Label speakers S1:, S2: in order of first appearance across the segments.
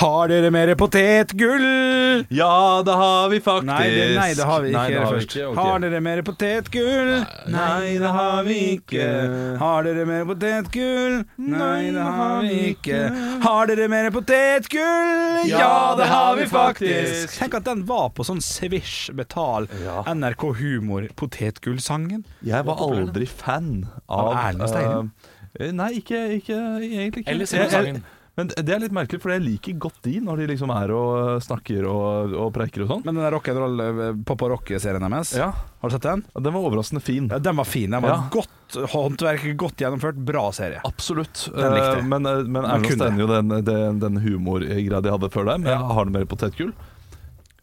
S1: Har dere mer potetgull?
S2: Ja, det har vi faktisk.
S1: Nei, det, nei, det har vi ikke.
S2: Nei, det har vi
S1: først.
S2: ikke, ok.
S1: Har dere mer potetgull?
S2: Nei, det har vi ikke.
S1: Har dere mer potetgull? Nei, det har vi ikke. Har dere mer potetgull? Ja, det har vi faktisk. Tenk at den var på sånn Swish Betal
S2: Ja.
S1: NRK Humor potetgullsangen.
S2: Jeg var aldri fan av,
S1: Av Erlend Steine?
S2: eh, nei, ikke, ikke egentlig ikke.
S3: Eller Simonsongen.
S2: Jeg- jeg- Men det er litt merkelig, for jeg liker godt de når de liksom er og snakker og, og preiker og sånn.
S1: Men den der rock'n'roll eh, pop og rock-serien deres,
S2: Ja,
S1: har du sett den?
S2: Den var overraskende fin.
S1: Ja, Den var fin. Den var
S2: Ja.
S1: Godt håndverk, godt gjennomført, bra serie.
S2: Absolutt.
S1: Den likte jeg.
S2: Eh, Men, eh, men
S1: Den
S2: Erlend
S1: kunne
S2: Steine, jo den, den, den humorgreia de hadde før der, med har du mer potetgull?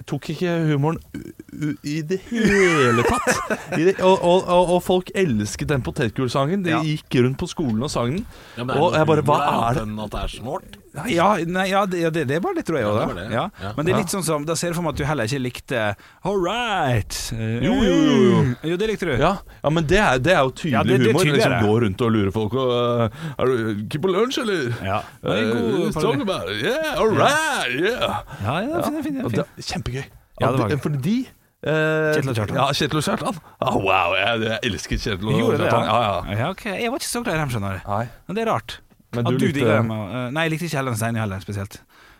S2: Tok ikke humoren u u i det hele tatt. I det, og, og, og, og folk elsket den potetgullsangen. De
S1: Ja.
S2: gikk rundt på skolen og sang den.
S3: Ja, men det er
S2: og
S3: noe
S2: jeg bare Hva
S3: humor,
S2: er det?
S3: annet enn At det er snålt.
S1: Ja, nei, ja det, ja, det, det var litt tror jeg
S3: Ja, det
S1: også,
S3: var
S1: da.
S3: det.
S1: Ja.
S3: Ja.
S1: Men det er litt sånn som Da ser jeg for meg at du heller ikke likte All right Eh,
S2: Jo, jo, jo, jo.
S1: Jo, det likte du
S2: Ja, ja men det er, det er jo tydelig
S1: Ja, det- det er
S2: humor.
S1: tydelig,
S2: liksom
S1: det.
S2: Gå rundt og lure folk og øh, Er du ikke på lunsj, eller?
S1: Ja.
S2: Eh,
S1: Det er en god
S2: talk
S1: parodi.
S2: about it. Yeah, all right, yeah.
S1: Ja, ja, fin, fin, fin.
S2: Og det er kjempegøy.
S1: Ja, det var gøy.
S2: Fordi eh,
S1: Kjetil og Kjartan.
S2: Ja, Kjetil og Kjartan. Ah, wow, jeg, jeg elsker Kjetil og
S1: Gjorde det,
S2: Kjartan. Ja, ja.
S1: ja ok. Jeg var ikke så glad i dem, skjønner du
S2: Nei.
S1: Men det er rart
S2: Men
S1: At
S2: du
S1: du
S2: likte-
S1: digger dem og, eh, Nei, jeg likte ikke Helen Stein heller spesielt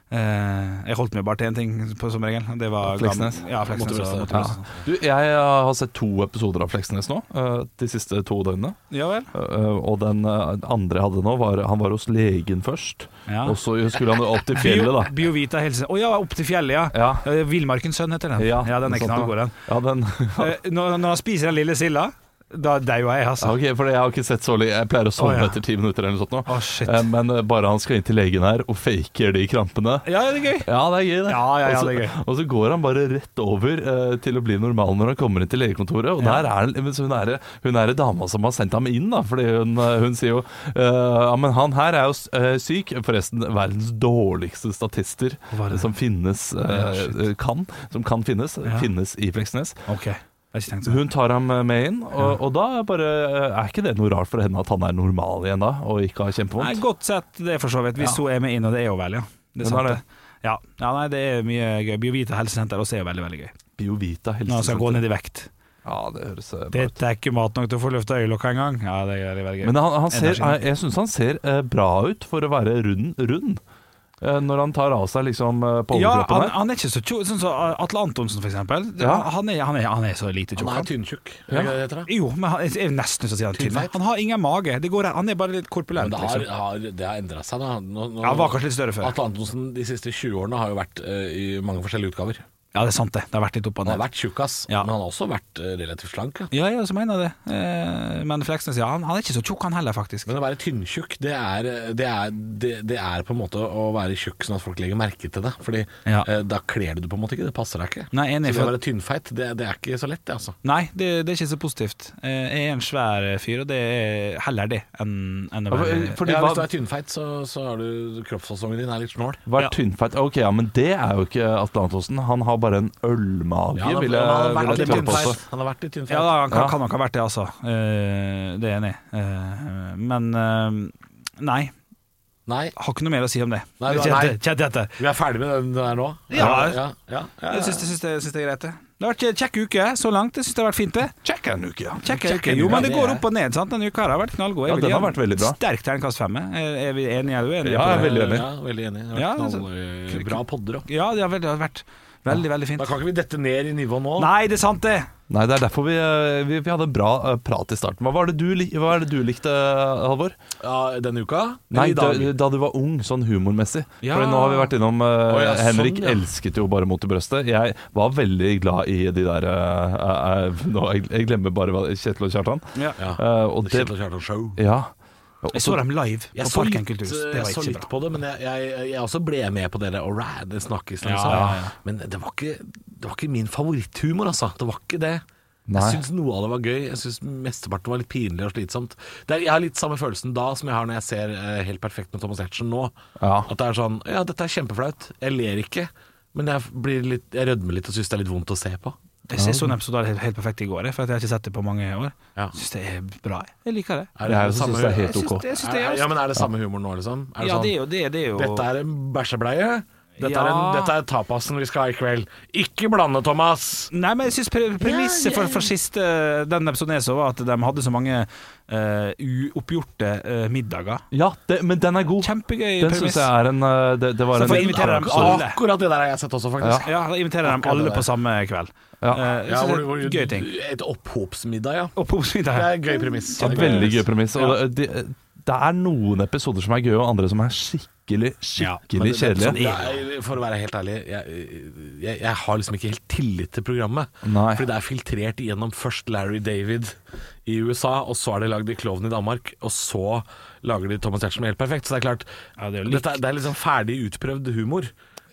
S1: Eh, Jeg holdt meg bare til en ting på, som regel og Det var
S2: Fleksnes.
S1: gammel- Ja, Fleksnes og
S3: Motorbrøstet.
S1: Motorbrøstet.
S2: Du, jeg eh, har sett to episoder av Fleksnes nå, eh, de siste to døgnene.
S1: Ja vel
S2: Eh, og den eh, andre jeg hadde nå, var han var hos legen først.
S1: Ja.
S2: Og så skulle han opp til fjellet, da.
S1: Bio- Biovita helse Åja, opp til fjellet, ja
S2: Ja.
S1: Eh, Villmarkens sønn heter den ja den er
S2: sant,
S1: knallgod den
S2: Ja, den
S1: Eh, når, når han spiser den lille silda, da dauer jeg, altså.
S2: Ja, Ok, for jeg har ikke sett så lenge. Jeg pleier å sove
S1: Å, ja.
S2: etter ti minutter eller noe sånt nå.
S1: Å, Ah, shit.
S2: Eh, Men eh, bare han skal inn til legen her og faker de krampene.
S1: Ja, det er gøy.
S2: Ja, det er gøy, det.
S1: Ja, ja, ja,
S2: og, så,
S1: det er gøy.
S2: og så går han bare rett over eh, til å bli normal når han kommer inn til legekontoret. Og der er han- men så hun er, hun er dama som har sendt ham inn, da. Fordi hun, eh, hun sier jo eh, Ja, men han her er jo s- eh, syk. Forresten, verdens dårligste statister
S1: Hva er det?
S2: som finnes
S1: Ja,
S2: eh,
S1: shit.
S2: eh, Kan. Som kan finnes. Finnes i Fleksnes.
S1: Ok, jeg har ikke tenkt
S2: Så Hun tar ham eh, med inn, og, og da bare eh, Er ikke det noe rart for henne at han er normal igjen da, og ikke har
S1: Nei,
S2: kjempevondt?
S1: Godt sett det, for så vidt, hvis hun er med inn, og det er jo vel, ja. Det
S2: Men
S1: er sant,
S2: er det?
S1: det. Ja. ja, nei, det er mye gøy. Biovita helsesenter også er jo veldig, veldig gøy.
S2: Biovita
S1: Når han skal gå
S2: helsesenter.
S1: ned i vekt.
S2: Ja, det høres eh, bra
S1: Det
S2: ut.
S1: er ikke mat nok til å få løfta øyelokka engang. Ja, det er veldig, veldig gøy.
S2: Men han, han ser,
S1: Energi.
S2: jeg syns han ser eh, bra ut for å være rund, rund. Eh, Når han tar av seg liksom eh, på
S1: ja, han,
S2: overkroppen her.
S1: han er ikke så tjukk. Sånn som Atle Antonsen, for eksempel.
S2: Ja.
S1: Han, er, han, er, han er så lite tjukk.
S3: Han er
S1: han.
S3: tynntjukk. er det ikke det det heter da?
S1: Jo, men han jeg er nesten så sier han tynn.
S3: Tynnfeit.
S1: Han har ingen mage. Det går, han er bare litt korpulent.
S3: Men det har,
S1: liksom.
S3: har, det har endra seg, da. Nå, nå,
S1: Ja, han var kanskje litt større før.
S3: Atle Antonsen de siste 20 årene har jo vært eh, i mange forskjellige utgaver.
S1: Ja, det er sant, det. Det har vært litt opp og
S3: Han har
S1: ned.
S3: vært tjukkas,
S1: Ja.
S3: men han har også vært eh, relativt slank. ja.
S1: Ja, jeg også mener det. Eh, Men Fleksnes, ja, han, han er ikke så tjukk han heller, faktisk.
S3: Men å være tynntjukk, det, er- eh, det, er- det, det er på en måte å være tjukk sånn at folk legger merke til det. Fordi
S1: Ja.
S3: eh, da kler du det på en måte ikke, det passer deg ikke.
S1: Nei, enig,
S3: så det å
S1: for-
S3: være tynnfeit, det, det er ikke så lett, det altså.
S1: Nei, det, det er ikke så positivt. Eh, Jeg er en svær fyr, og det er heller det enn, enn å
S2: Ja,
S1: være
S2: for- eh, Fordi
S3: ja,
S2: hva-
S3: Hvis du er tynnfeit, så, så har du kroppsfasongen din er litt snål.
S2: Vært
S1: Ja.
S2: tynnfeit. Ok, ja, men det er jo ikke Atle Antonsen. Han har bare en ølmage,
S3: han,
S2: vil jeg,
S3: har
S2: vil
S3: vært
S2: jeg
S3: litt
S2: tørre påstå.
S3: tynnfeit. Han har vært litt tynnfeit.
S1: Ja, da, han kan,
S2: Ja.
S1: kan nok ha vært det, altså. Eh, Det er jeg enig i. Eh, Men eh, nei,
S3: Nei,
S1: har ikke noe mer å si om det.
S3: Nei,
S1: Kjent-
S3: nei.
S1: Kjent dette.
S3: vi er ferdig med den der nå.
S1: Ja.
S3: ja, ja, ja,
S1: Jeg syns, jeg syns det, jeg syns det er greit, det. Det har vært en kjekk uke så langt. Jeg syns det har vært fint, det.
S2: Check en uke, ja.
S1: Kjekk
S3: Kjekk
S1: uke.
S3: uke,
S1: Jo, men det
S3: det
S1: går
S3: er-
S1: opp og ned. sant? Denne uka her har vært knallgod.
S2: Ja,
S1: Jeg vil
S2: den
S1: gi
S2: har
S1: en
S2: vært veldig bra.
S1: Sterk terningkast femme. Er er vi enige, er du enig?
S2: Ja, jeg er veldig enig.
S3: Ja, veldig enig. Det har
S1: Ja,
S3: vært
S1: altså-
S3: knall, bra podder òg.
S1: Ja, det har vært- det har vært veldig, veldig fint.
S3: Da kan ikke vi dette ned i nivå nå.
S1: Nei, det er sant det.
S2: Nei, det er derfor vi, eh, vi, vi hadde en bra eh, prat i starten. Hva var det du, lik- hva er det du likte, eh, Halvor?
S3: Ja, denne uka?
S2: Nei,
S3: Eller i
S2: da,
S3: dag?
S2: da du var ung, sånn humormessig.
S1: Ja.
S2: For nå har vi vært innom eh,
S3: ja, sånn,
S2: Henrik
S3: ja.
S2: elsket jo bare mot i brøstet. Jeg var veldig glad i de der eh, eh, nå, jeg, jeg glemmer bare hva Kjetil og Kjartan.
S1: Ja.
S3: ja.
S2: Eh, og det,
S3: Kjetil og Kjartan Show.
S2: ja.
S1: Jeg så dem live
S3: Jeg
S1: på
S3: så,
S1: Parken
S3: litt, eh,
S1: Kulturhus. Det
S3: jeg
S1: var
S3: så
S1: ikke
S3: litt
S1: bra.
S3: på det, men jeg, jeg, jeg også ble med på dere Alright, det snakkes liksom.
S1: Ja, ja, ja.
S3: Men det var, ikke, det var ikke min favoritthumor, altså. Det var ikke det.
S2: Nei.
S3: Jeg syns noe av det var gøy. Jeg syns mesteparten var litt pinlig og slitsomt. Det er, jeg har litt samme følelsen da som jeg har når jeg ser eh, Helt perfekt med Thomas Hertzen nå.
S2: Ja.
S3: At det er sånn Ja, dette er kjempeflaut. Jeg ler ikke. Men jeg, blir litt, jeg rødmer litt og syns det er litt vondt å se på.
S1: Jeg synes sånn episode av helt, helt perfekt i går, jeg, for at jeg har ikke sett det på mange år.
S3: Ja.
S1: Syns det er bra. jeg. Jeg liker det.
S3: Er
S2: Jeg er jo
S3: samme-
S2: synes det er helt
S1: Jeg synes
S2: ok.
S1: det, jeg synes
S3: Er,
S1: det er,
S3: ja, men er det samme humor nå, liksom? Er det
S1: ja,
S3: sånn,
S1: det er jo det. det er jo.
S3: Dette er en bæsjebleie. Dette, er en,
S1: Ja.
S3: dette er tapasen vi skal ha i kveld. Ikke blande, Thomas!
S1: Nei, men jeg synes pre premisset for, for siste den episoden jeg så, var at de hadde så mange eh, uoppgjorte eh, middager.
S2: Ja, det, men den er god.
S1: Kjempegøy
S2: Den
S1: premiss.
S2: syns jeg er en eh, Det, det var
S1: Så
S2: en
S1: får jeg invitere dem
S2: absolutt-
S1: alle.
S3: Akkurat det der har jeg sett også, faktisk.
S1: Ja, da inviterer de
S3: Akkurat
S1: alle
S3: det der.
S1: på samme kveld.
S2: Ja.
S1: Eh, jeg
S3: Ja,
S1: synes
S3: hvor-
S1: det er
S3: hvor-
S1: gøy ting.
S3: Et opphopsmiddag, ja.
S1: Og popsmiddag.
S3: Det er en gøy premiss.
S1: Sånn
S2: Et veldig gøy premiss. Og det, det- det er noen episoder som er gøye, og andre som er skikkelig,
S1: Ja, men det- det er
S2: skikkelig kjedelige.
S3: Jeg, Sånn, for å være helt ærlig, jeg, jeg, jeg har liksom ikke helt tillit til programmet.
S2: Nei.
S3: Fordi det er filtrert gjennom først Larry David i USA, og så er det lagd i Klovn i Danmark, og så lager de Thomas Giertsen helt perfekt. Så det er klart,
S1: Ja, det er jo likt.
S3: dette er, det er liksom ferdig utprøvd humor.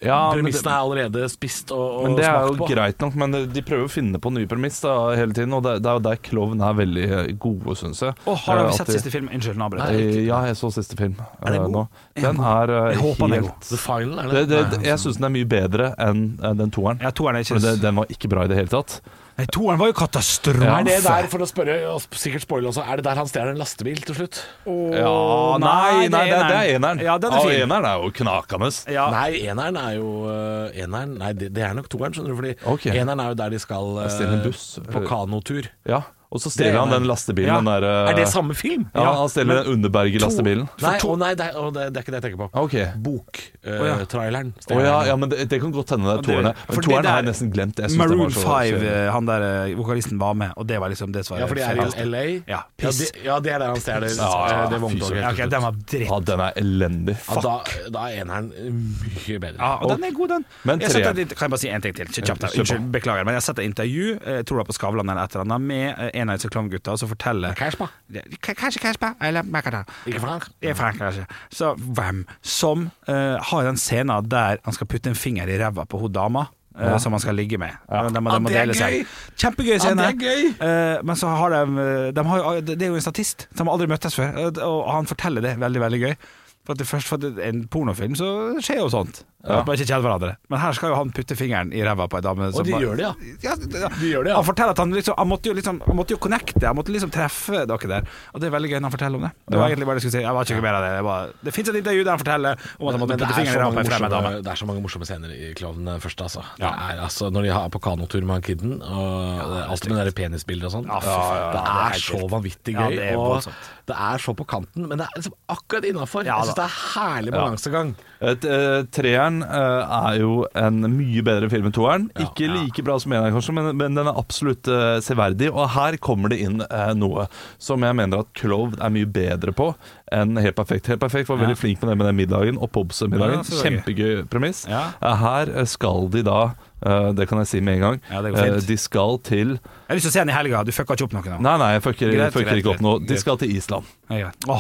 S2: Ja, men det-
S3: Premissene er allerede spist og,
S2: Men
S3: og
S2: det er
S3: smakt
S2: jo
S3: på.
S2: greit nok, men de prøver å finne på nye premiss da, hele tiden, og det, det er jo der klovn er veldig eh, gode, syns jeg.
S1: Å, har
S2: Eh,
S1: dere
S2: at
S1: sett
S2: de-
S1: siste film? Unnskyld, nå avbrøt jeg.
S2: Eh, Ja, jeg så siste film eh,
S3: den god?
S2: nå. Den er eh,
S1: Jeg håper den er
S2: helt
S3: The Final, er
S2: det,
S3: det?
S2: det,
S3: Nei.
S2: Jeg syns den er mye bedre enn eh, den toeren.
S1: Ja, toeren er ikke
S2: For det, den var ikke bra i det hele tatt.
S1: Nei, toeren var jo katastrofe!
S3: er det der, for å spørre, og sikkert spoile også, er det der han stjeler en lastebil til slutt?
S1: Å,
S2: nei, nei, det, det er
S1: eneren.
S2: eneren.
S1: Ja, den er fin.
S2: Og eneren er jo knakende.
S1: Ja.
S3: Nei, eneren er jo øh, eneren, Nei, det, det er nok toeren, skjønner du. Fordi
S2: Ok.
S3: eneren er jo der de skal øh,
S2: stjeler en buss. eh,
S3: på kanotur.
S2: Ja, og så stjeler han den lastebilen.
S1: Ja.
S2: Den der, eh,
S3: Er det samme film?
S2: Ja, han stjeler den Underberger-lastebilen.
S3: Nei, å nei det, er, å, det, det er ikke det jeg tenker på.
S2: Ok.
S3: Boktraileren. Øh, Ah, traileren
S2: Å ja, ja, men det, det kan godt hende det er toerne.
S1: for
S2: Men
S1: det
S2: toerne
S1: der-
S2: har jeg nesten glemt. Jeg synes den var
S1: Maroon
S2: så
S1: 5,
S2: kjedelig.
S1: eh, han der eh, vokalisten, var med, og det var liksom det som var
S3: ja, for de er i LA.
S1: Ja,
S3: ja,
S1: piss.
S3: det, ja, det er der han stjeler
S2: Ja,
S3: øh, det
S2: fy
S3: vogntoget.
S2: søren.
S1: Ja, ok, den var dritt.
S2: Ja, den er elendig.
S3: Ja, da, da er eneren mye bedre.
S1: Ja, og den er god, den.
S2: Men
S1: jeg har sett
S2: treeren.
S1: et, kan jeg bare si en ting til? Kjapt, her.
S2: Kjør på.
S1: Unnskyld, beklager. Men jeg har sett et intervju, eh, jeg tror det var på Skavlan eller et eller annet, med eh, en av disse klovngutta som forteller
S3: Casper.
S1: K- Kanskje Kasper, eller Macadam.
S3: Ikke Frank.
S1: Det er Frank, kanskje. Så hvem som eh, har den scenen der han skal putte en finger i ræva på hun dama. eh, Som han skal ligge med. De, må- de må
S3: det er
S1: dele
S3: gøy!
S1: seg. Kjempegøy scene.
S3: det er
S1: Eh, men så har de, eh, de har, jo- Det er jo en statist. De har aldri møttes før. eh, Og han forteller det veldig veldig gøy. For at det først for at det er en pornofilm så skjer jo sånt. At man ikke kjenner hverandre. Men her skal jo han putte fingeren i ræva på ei dame.
S3: Og de gjør det, ja.
S1: ja, det- ja.
S3: De gjør det, ja.
S1: Han forteller at han liksom Han måtte jo liksom Han måtte jo connecte, han måtte liksom treffe dere der. Og det er veldig gøy når han forteller om det. Det var egentlig bare det jeg skulle si. Jeg var ikke noe mer av det. Jeg bare, det fins et intervju der han forteller om at han måtte
S3: Men
S1: putte
S3: det er,
S1: fingeren i
S3: så
S1: rampa
S3: mange
S1: i fremmed dame.
S3: morsomme, det er så mange morsomme scener i Klovnen den første, altså. Det er, altså. Når de har på kanotur med han kiden, og alt med de penisbilder og sånn.
S1: Ja, fy faen, ja,
S3: det
S1: det er
S3: er
S1: helt
S3: så
S1: vilt.
S3: vanvittig
S1: Ja,
S3: gøy.
S1: det er
S3: og
S1: voldsomt.
S3: det er så på kanten, men det er liksom akkurat innafor.
S1: Ja,
S3: Jeg syns
S1: da.
S3: det er herlig balansegang.
S2: Et, eh, treeren eh, er jo en mye bedre film enn toeren. Ikke like bra som eneren, kanskje, men, men den er absolutt eh, severdig. Og her kommer det inn eh, noe som jeg mener at Clove er mye bedre på enn Helt perfekt. Helt perfekt var veldig flink med det med den middagen og
S1: Ja,
S2: Pobs-middagen.
S1: selvfølgelig.
S2: Kjempegøy premiss.
S1: Ja.
S2: Eh, her eh, skal de da eh, det kan jeg si med en gang.
S1: Ja, det går fint.
S2: eh, De skal til
S1: Jeg har lyst til å se den i helga. Du fucka ikke opp noe nå?
S2: Nei, nei, jeg fucker, jeg
S1: Greit,
S2: fucker
S1: greit,
S2: ikke opp noe. De
S1: greit.
S2: skal til Island.
S1: Ja, greit. Eh,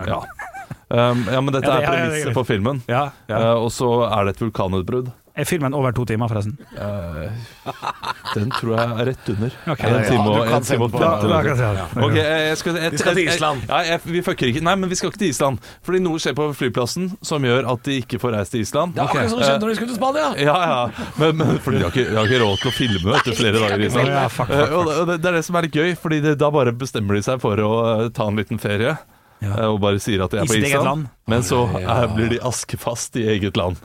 S1: Åh.
S2: Ja. Um, ja, men dette
S1: Ja, det- ja,
S2: er
S1: ja, det er
S2: premisset
S1: greit.
S2: for filmen.
S1: Ja, ja.
S2: Eh, og så er det et vulkanutbrudd.
S1: Er filmen over to timer, forresten?
S2: Den tror jeg er rett under.
S1: Ok,
S2: en
S1: ja,
S2: time
S3: du
S2: og,
S3: kan
S2: en time og
S3: sende på- Ja,
S1: Da,
S2: 15
S1: da kan jeg
S2: minutter.
S1: se den.
S2: Ok, jeg, jeg skal, jeg,
S3: Vi skal til
S2: jeg-
S3: Island.
S2: Jeg, jeg, vi fucker ikke. Nei, men vi skal ikke til Island. Fordi noe skjer på flyplassen som gjør at de ikke får reist til Island.
S3: Det er akkurat som det
S1: eh,
S3: skjedde når de skulle til Spania!
S2: Ja, ja. Men, men fordi de har, ikke, de har ikke råd til å filme etter flere dager. i Island.
S1: filme. Ja, fuck, fuck, fuck.
S2: Eh, og det- og det, det er det som er litt gøy, Fordi det, da bare bestemmer de seg for å eh, ta en liten ferie. eh, Og bare sier at de er
S1: I
S2: på
S1: sitt eget
S2: Island.
S1: land.
S2: Men så eh, blir de askefast i eget land.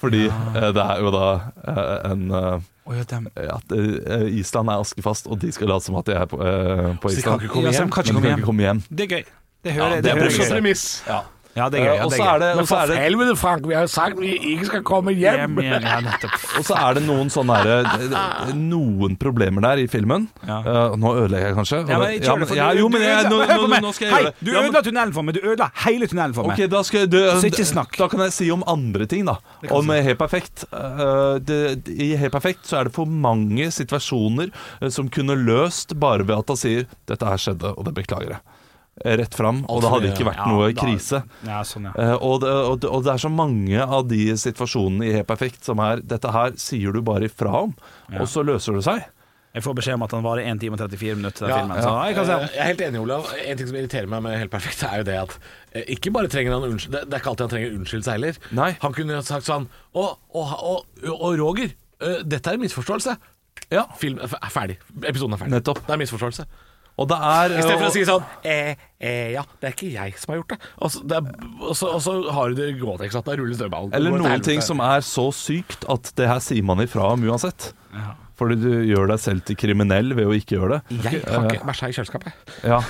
S2: Fordi eh, det er jo da eh, en eh,
S1: Å, ja, dem.
S2: At eh, Island er askefast, og de skal late som at de er på, eh, på
S3: Så de
S2: Island.
S3: kan ikke
S1: Ja,
S3: komme
S1: så de kan ikke
S2: Men
S3: hjem.
S2: de
S1: komme
S2: kan ikke
S1: hjem.
S2: komme hjem.
S1: Det er gøy. Det hører jeg.
S2: det
S1: Det
S2: er
S1: hører
S2: morsomt.
S1: jeg. gøy. Ja, det er gøy. Ja,
S2: Eh, Og
S1: det
S2: så er
S1: er gøy.
S2: det, og så er det
S3: helvete, Frank, vi har jo sagt vi ikke skal komme
S1: Hjem igjen. Ja, nettopp.
S2: Og så er det noen sånne herre Noen problemer der i filmen.
S1: Ja.
S2: Eh, nå ødelegger jeg kanskje.
S1: Ja, men jeg
S2: Ja,
S1: kjører
S2: men-
S1: for
S2: ja,
S1: du-
S2: jo,
S1: du
S2: men jeg,
S1: ødela-
S2: nå,
S1: Hør
S2: nå,
S1: på
S2: nå,
S1: meg.
S2: nå skal jeg
S1: Hei,
S2: gjøre det.
S1: Du
S2: Ja, men-
S1: ødela tunnelen for meg. Du ødela hele tunnelen for meg.
S2: Ok, da skal jeg du,
S1: Så ikke snakk.
S2: Da kan jeg si om andre ting, da. Om eh, Helt perfekt. Eh, det, I Helt perfekt så er det for mange situasjoner eh, som kunne løst bare ved at han sier 'Dette her skjedde, og det beklager jeg'. Eh, Rett fram. Og det hadde ikke vært
S1: Ja,
S2: noe
S1: da-
S2: krise.
S1: Ja, sånn, ja.
S2: Eh, og, det, og, det, og det er så mange av de situasjonene i Helt perfekt som er Dette her sier du bare ifra om, og så løser det seg.
S1: Jeg får beskjed om at han varer 1 time og 34 minutter, den
S3: Ja,
S1: filmen. Så jeg kan se
S3: Eh,
S1: den.
S3: Jeg er helt enig, Olav. En ting som irriterer meg med Helt perfekt, er jo det at eh, ikke bare trenger han unnskyld, det det er ikke alltid han trenger unnskyld seg heller.
S2: Nei.
S3: Han kunne sagt sånn Å, å, å, å Roger, eh, dette er en misforståelse.
S2: Ja,
S3: Film er fer- ferdig. Episoden er ferdig.
S2: Nettopp.
S3: Det er misforståelse.
S2: og det er
S3: I stedet for å si sånn eh, eh, Ja, det er ikke jeg som har gjort det. Og så, det er, og så, og så har du det gående, ikke sant. Da ruller snøballen.
S2: Eller
S3: Går til
S2: noen
S3: helvete.
S2: ting som er så sykt at det her sier man ifra om uansett. Fordi du gjør deg selv til kriminell ved å ikke gjøre det. eh,
S3: Jeg har ikke bæsja i kjøleskapet.
S2: Ja,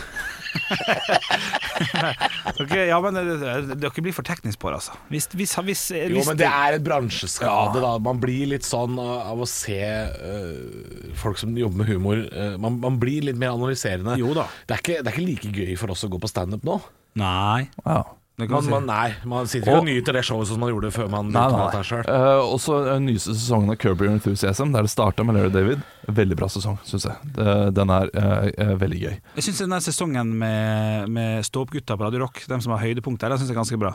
S1: Ok, ja, men eh, dere blir for teknisk på det, altså. Hvis, hvis, hvis, eh, hvis
S3: Jo, men det er en bransjeskade, da. Man blir litt sånn av av å se øh, folk som jobber med humor. øh, man, man blir litt mer analyserende.
S1: Jo da.
S3: Det er, ikke, det er ikke like gøy for oss å gå på standup nå.
S1: Nei.
S2: ja.
S1: Det kan man,
S3: Man,
S1: si.
S3: man, nei, man sitter ikke
S2: Og-
S3: og nyter det showet som man gjorde før man
S2: Nei,
S3: begynte med
S2: nei,
S3: dette
S2: nei.
S3: sjøl.
S2: Eh, også den nyeste sesongen av Curb Your Enthusiasm, der det starta med Larry David. Veldig bra sesong, syns jeg. Det- Den er eh, eh, veldig gøy.
S1: Jeg syns denne sesongen med, med ståoppgutta på Radio Rock, dem som har høydepunkt der, den synes jeg er ganske bra.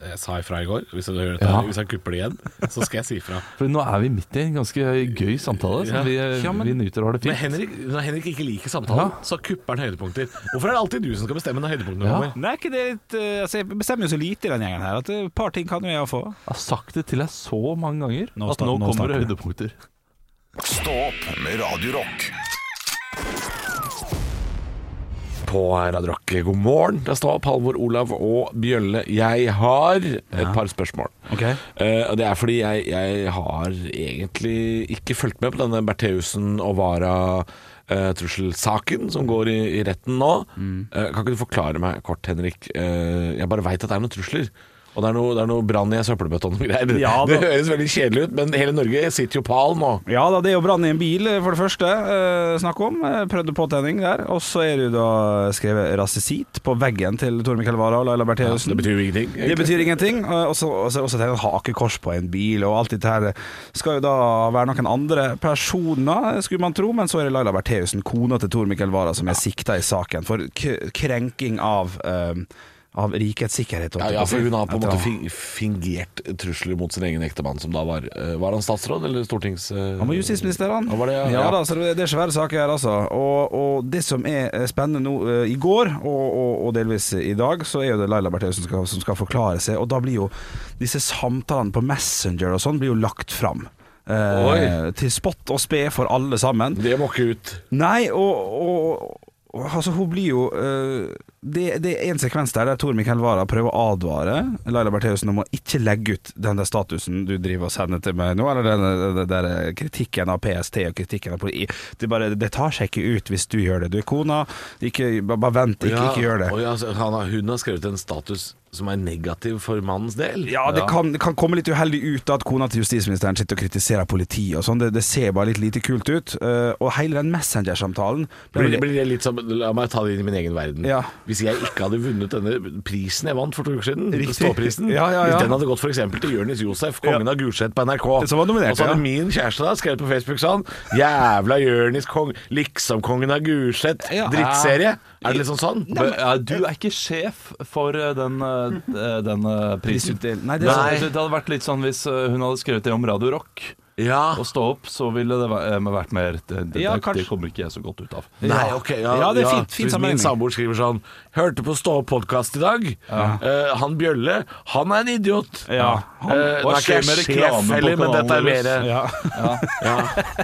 S3: Jeg sa ifra i går. Hvis jeg, hører
S2: Ja.
S3: dette, hvis jeg kupper det igjen, så skal jeg si ifra.
S2: For nå er vi midt i en ganske gøy samtale, som vi, eh,
S1: Ja, men-
S2: vi nyter og har det fint.
S3: Når Henrik, når Henrik ikke liker samtalen,
S2: Ja.
S3: så kupper han høydepunkter. Hvorfor er det alltid du som skal bestemme når høydepunktene
S2: Ja.
S3: kommer?
S1: Nei, ikke det litt eh, Altså, jeg bestemmer jo så lite i den gjengen her at eh, et par ting kan jo jeg få.
S2: Jeg har sagt det til deg så mange ganger
S1: Nå
S2: at
S1: sta-
S2: nå
S1: nå
S2: kommer
S1: starter det.
S2: høydepunkter.
S4: Stå opp med Radio Rock.
S3: På Radio Rock, god morgen. Det står Halvor, Olav og Bjølle. Jeg har et par spørsmål. Eh, og det er fordi jeg, jeg har egentlig ikke fulgt med på denne Bertheussen og Vara-trusselsaken som går i, i retten nå.
S1: Mm.
S3: Eh, kan ikke du forklare meg kort, Henrik? Eh, jeg bare veit at det er noen trusler. Og det er noe, det er noe brann i ei søppelbøtte og noe greier.
S1: Ja,
S3: det
S1: da-
S3: høres veldig kjedelig ut, men hele Norge sitter jo pal nå.
S1: Ja da, det er jo brann i en bil, eh, for det første. Eh, snakk om. Eh, prøvde påtenning der. Og så er det jo da skrevet rasisit på veggen til Tor Mikkel Wara og Laila Bertheussen.
S3: Det betyr jo ingenting.
S1: Det
S3: egentlig.
S1: betyr ingenting. Og så og så- og så er det en hakekors på en bil, og alt dette her skal jo da være noen andre personer, skulle man tro. Men så er det Laila Bertheussen, kona til Tor Mikkel Wara, som er sikta i saken for k krenking av, eh, av rikets sikkerhet.
S3: ja, ja, for hun har på en
S1: At-
S3: måte fin- fingert trusler mot sin egen ektemann, som da var eh, Var han statsråd eller stortings... eh,
S1: Han var justisminister, han.
S3: Han var det, ja.
S1: ja. da, så det det er svære saker her, altså. Og, og det som er eh, spennende nå eh, i går, og, og, og delvis i dag, så er jo det Laila Bertheussen som, skal- som skal forklare seg. Og da blir jo disse samtalene på Messenger og sånn blir jo lagt fram. Eh,
S3: Oi.
S1: til spott og spe for alle sammen.
S3: Det må ikke ut.
S1: Nei, og, og, og altså, hun blir jo øh, det, det er en sekvens der der Tor Mikkel Wara prøver å advare Laila Bertheussen om å ikke legge ut den der statusen du driver og sender til meg nå, eller den, den, den der kritikken av PST og kritikken av politi. Det, bare, det tar seg ikke ut hvis du gjør det. Du er kona, ikke, bare bare vent, ikke, ikke gjør det.
S3: Oi, altså, han har, hun har skrevet en status som er negativ for mannens del.
S1: Ja, det kan, det kan komme litt uheldig ut at kona til justisministeren sitter og kritiserer politiet og sånn. Det, det ser bare litt lite kult ut. øh, og hele den Messenger-samtalen
S3: Blir, blir det litt som, La meg ta det inn i min egen verden.
S1: Ja.
S3: Hvis jeg ikke hadde vunnet denne prisen jeg vant for to uker siden,
S1: Riktig.
S3: ståprisen
S1: Ja, ja, ja.
S3: Hvis den hadde gått for eksempel til Jonis Josef, kongen av Gulset på NRK,
S1: Som var nominert,
S3: og så hadde
S1: ja.
S3: min kjæreste da skrevet på Facebook sånn Jævla Jonis Kong, liksom kongen av Gulset,
S1: Ja.
S3: drittserie. Er det liksom sånn?
S2: Bø- ja, du er ikke sjef for eh, den, eh, den eh, prisen.
S1: Prisutdel- Nei, det
S2: det,
S1: er
S2: det
S3: sant.
S2: hadde vært litt sånn hvis eh, hun hadde skrevet det om Radio Rock
S3: Ja.
S2: og Stå opp, så ville det væ- eh, vært mer det, det,
S1: Ja,
S2: det
S1: kanskje.
S2: kommer ikke jeg så godt ut av.
S3: Nei, ok
S1: Ja, det er fint- fint
S3: Hvis
S1: sammenligning.
S3: Min samboer skriver sånn Hørte på Stå opp-podkast i dag. Eh, han Bjølle, han er en idiot.
S1: Ja,
S3: han, eh, nå
S2: Hva
S3: er ikke
S2: skjer
S3: jeg
S2: med reklamen
S3: sjef
S2: på
S3: heller, men dette er
S2: kanalen
S3: mer
S2: deres?
S3: ja.
S1: sånn- Ja.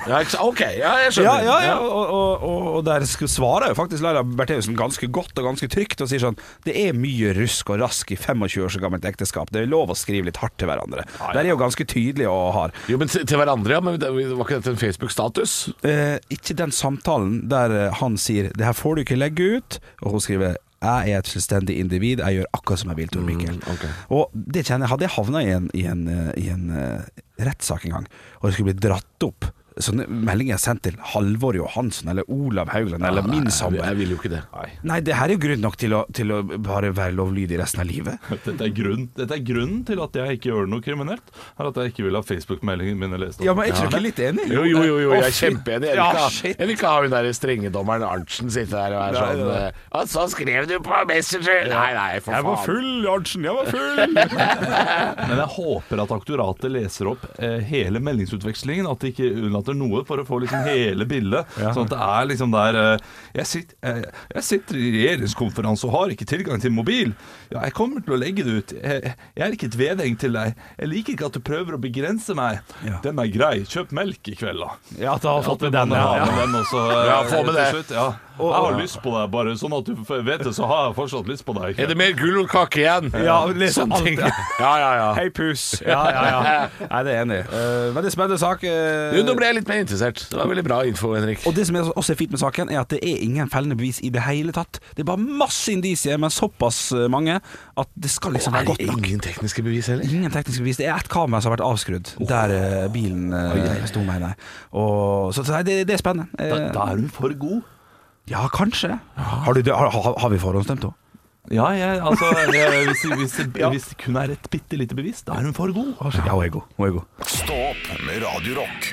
S3: Ja, ikke sant? Ok, ja, jeg
S1: Ja,
S3: skjønner.
S1: ja, ja. Og, og, og, og der sk- svarer jo faktisk Laila Bertheussen ganske godt og ganske trygt og sier sånn Det er mye rusk og rask i 25 år så gammelt ekteskap. Det er lov å skrive litt hardt til hverandre. Der er jo ganske tydelig og hard.
S3: Jo, men til til hverandre, ja. Men det- var ikke dette en Facebook-status?
S1: Eh, ikke den samtalen der eh, han sier 'det her får du ikke legge ut', og hun skriver 'jeg er et selvstendig individ, jeg gjør akkurat som jeg vil', Tor Mikkel.
S3: Mm, ok.
S1: Og det kjenner jeg Hadde jeg havna i en, i en, eh, i en eh, rettssak en gang, og det skulle bli dratt opp sånne meldinger jeg sendt til Halvor Johansen eller Olav Haugland eller
S3: Nei,
S1: min
S3: jeg-
S1: samboer
S3: Jeg vil jo ikke det.
S1: Nei, det her er jo grunn nok til å, til å bare være lovlydig resten av livet.
S2: Dette er, grunnen, dette er grunnen til at jeg ikke gjør noe kriminelt, er at jeg ikke vil ha Facebook-meldingen min lest opp.
S1: Ja, men er ikke dere litt enig?
S3: Jo, jo, jo, jo jeg
S1: Å,
S3: er
S1: fy-
S3: kjempeenig. Jeg, vil
S1: Ja,
S3: ikke ha-
S1: shit.
S3: jeg vil ikke ha hun der strengedommeren Arntzen sitte der og være
S1: Nei,
S3: sånn
S1: nei.
S3: eh, Og så skrev du på Messenger! Nei, nei, for faen.
S1: full, Arntzen, jeg var full!
S2: Men jeg håper at aktoratet leser opp eh, hele meldingsutvekslingen, at de ikke unnlater måter noe for å få liksom hele bildet.
S1: Ja.
S2: Sånn at det er liksom der eh, jeg, sitter, jeg, jeg sitter i regjeringskonferanse og har ikke tilgang til mobil. Ja, jeg kommer til å legge det ut. Jeg, jeg er ikke et vedheng til deg. Jeg liker ikke at du prøver å begrense meg.
S1: Ja.
S2: Den er grei. Kjøp melk i kveld, da.
S1: Ja, at jeg har fått med
S2: Ja,
S1: den.
S2: men ha
S1: Ja.
S2: med den også,
S3: Ja,
S2: eh,
S3: få med
S2: til
S3: det.
S2: Slutt, ja. Jeg har lyst på deg, bare sånn at du f- vet det, så har jeg fortsatt lyst på deg.
S3: Er det mer gulrotkake igjen?
S1: Ja, liksom
S3: Sånne ting. Ja, ja, ja.
S1: Hei, pus. Ja, ja, ja. Nei, det er enig. Eh, veldig spennende sak. eh,
S3: Du, nå ble jeg litt mer interessert. Det var veldig bra info, Henrik.
S1: Og det som er også er fint med saken, er at det er ingen fellende bevis i det hele tatt. Det er bare masse indisier, men såpass eh, mange at det skal liksom
S3: er
S1: være
S3: det
S1: godt nok.
S3: ingen tekniske bevis heller?
S1: Ingen tekniske bevis. Det er ett kamera som har vært avskrudd der eh, bilen uh, sto med. Nei. Og, så så nei, det, det er spennende. Eh,
S2: Da, da er hun for god.
S1: ja, kanskje. Har, du, har, har, har vi forhåndsstemt henne?
S2: Ja, jeg, altså jeg, hvis, hvis, hvis det kun er et bitte lite bevis, da er hun for god.
S1: Ja, hun er god. Hun er god.
S4: Stå opp med Radio Rock.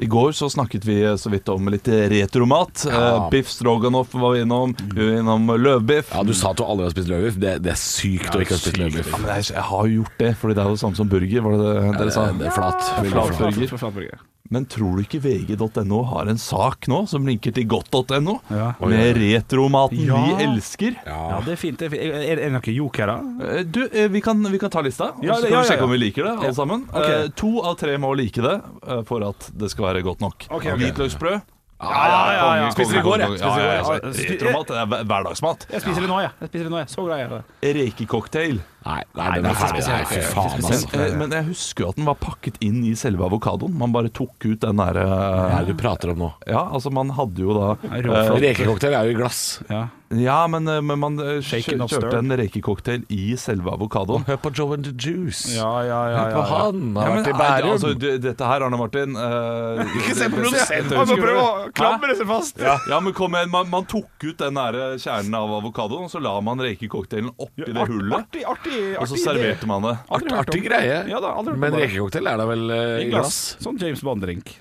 S2: I går så snakket vi eh, så vidt om litt retromat.
S3: Ja.
S2: Eh, Biff Stroganoff var vi innom. Vi var innom eh, løvbiff.
S3: Ja, Du sa at du aldri har spist løvbiff. Det, det er sykt å ikke ha spist løvbiff.
S2: Ja, men jeg, jeg har jo gjort det, Fordi det er jo samme som burger. Var det det dere sa?
S3: Det, det er flat. Veldig
S2: Flat.
S3: flat.
S2: Flatburger. Men tror du ikke vg.no har en sak nå som linker til godt.no?
S1: Ja.
S2: Med retromaten
S1: Ja.
S2: vi elsker?
S1: Ja, det er fint. Det er, fint. Er- er det noen jokere?
S2: Eh, Du, eh, vi kan, vi kan ta lista, og
S1: Ja,
S2: så
S1: det- ja,
S2: kan vi
S1: ja,
S2: sjekke
S1: ja.
S2: om vi liker det. alle sammen
S1: Ok.
S2: Eh, To av tre må like det eh, for at det skal være godt nok.
S1: Ok, ok.
S2: Hvitløksbrød.
S1: ja, ja, ja.
S2: Spiste det i går, jeg.
S3: Spiste det i går, jeg.
S2: Retromat det er hver- hverdagsmat.
S1: Jeg spiser det nå, jeg. jeg, spiser det nå, jeg. Så glad jeg er i det.
S2: Rekecocktail.
S3: Nei, nei, den er ferdig. Nei, fy faen,
S2: Men,
S3: altså.
S2: eh, men jeg husker jo at den var pakket inn i selve avokadoen. Man bare tok ut den derre
S3: Hva er det du prater om nå?
S2: Ja, altså, man hadde jo da
S1: Nei, råflott.
S2: eh,
S3: Rekecocktail er jo i glass.
S1: Ja.
S2: Ja, men, eh, men man eh,
S1: Shaken,
S2: kjø-
S1: not
S2: kjørte
S1: stirred.
S2: en rekecocktail i selve avokadoen.
S3: Hør på Joe and the Juice.
S1: Ja, ja, ja,
S3: Hør
S1: ja,
S3: på
S1: ja.
S3: han. Han har
S2: Ja, men,
S3: vært i
S2: nei,
S3: Bærum.
S2: Altså, du, dette her, Arne Martin eh,
S3: Ikke se på
S2: det-
S3: produsenten,
S2: det-
S3: han
S2: det-
S1: prøver å klamre
S2: Hæ?
S1: seg fast.
S2: Ja. ja, men kom igjen. Man, man tok ut den der kjernen av avokadoen, og så la man rekecocktailen oppi det hullet,
S1: Artig, artig,
S2: og så
S1: artig idé.
S2: serverte man det.
S3: Art, artig greie.
S1: Ja da, aldri hørt om
S3: men
S1: det.
S3: rekecocktail er da vel eh, i glass?
S1: Sånn James Bond-drink.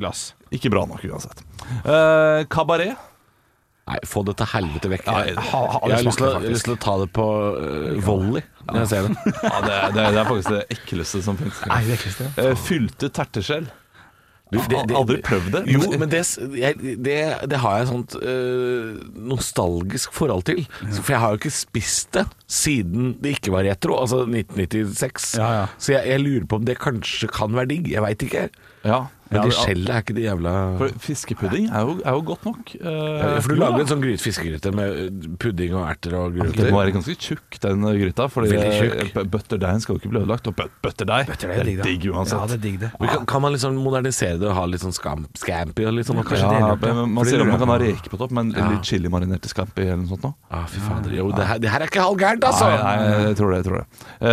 S1: Glass.
S2: Ikke bra nok uansett. Eh, Kabaret.
S3: Nei, få det til helvete vekk.
S2: Ja,
S3: jeg,
S2: jeg-
S3: har lyst til å- jeg har lyst til å ta det på eh, volley når jeg ser det.
S2: Ja, det, er- det, er- det er faktisk det ekleste som fins. Eh, fylte terteskjell.
S3: Du,
S2: Jeg har aldri prøvd det.
S3: Jo, men det, s- jeg, det, det har jeg et sånt eh, nostalgisk forhold til. For jeg har jo ikke spist det siden det ikke var retro, altså 1996.
S1: Ja, ja.
S3: Så jeg, jeg lurer på om det kanskje kan være digg. Jeg veit ikke.
S2: Ja.
S3: Men
S2: Ja,
S3: det skjellet er ikke det jævla
S2: For fiskepudding er jo, er jo godt nok.
S3: Ja,
S2: Eh,
S3: For du
S2: jo da.
S3: lager en sånn gryt fiskegryte med eh, pudding og erter og
S2: Den må
S3: gulrøtter.
S2: være ganske tjukk, den gryta. Fordi
S3: Veldig tjukk.
S2: b- butterdeigen skal jo ikke bli ødelagt. Og but- butterdeig
S1: Det er digg, da.
S2: digg
S1: Ja,
S2: uansett.
S1: det er digg, det.
S3: Men Kan, kan man liksom modernisere det og ha litt sånn skam, scampi og litt sånn?
S2: Ja,
S3: oppi?
S2: men man
S3: Fordi
S2: ser om man
S3: lurer
S2: kan ha
S3: jeg
S2: reker på topp, men litt chilimarinert i scampi eller noe sånt nå.
S3: Ah, fy fader. Jo, det her, det her er ikke halvgærent, altså!
S2: Nei, nei, jeg tror det. jeg tror det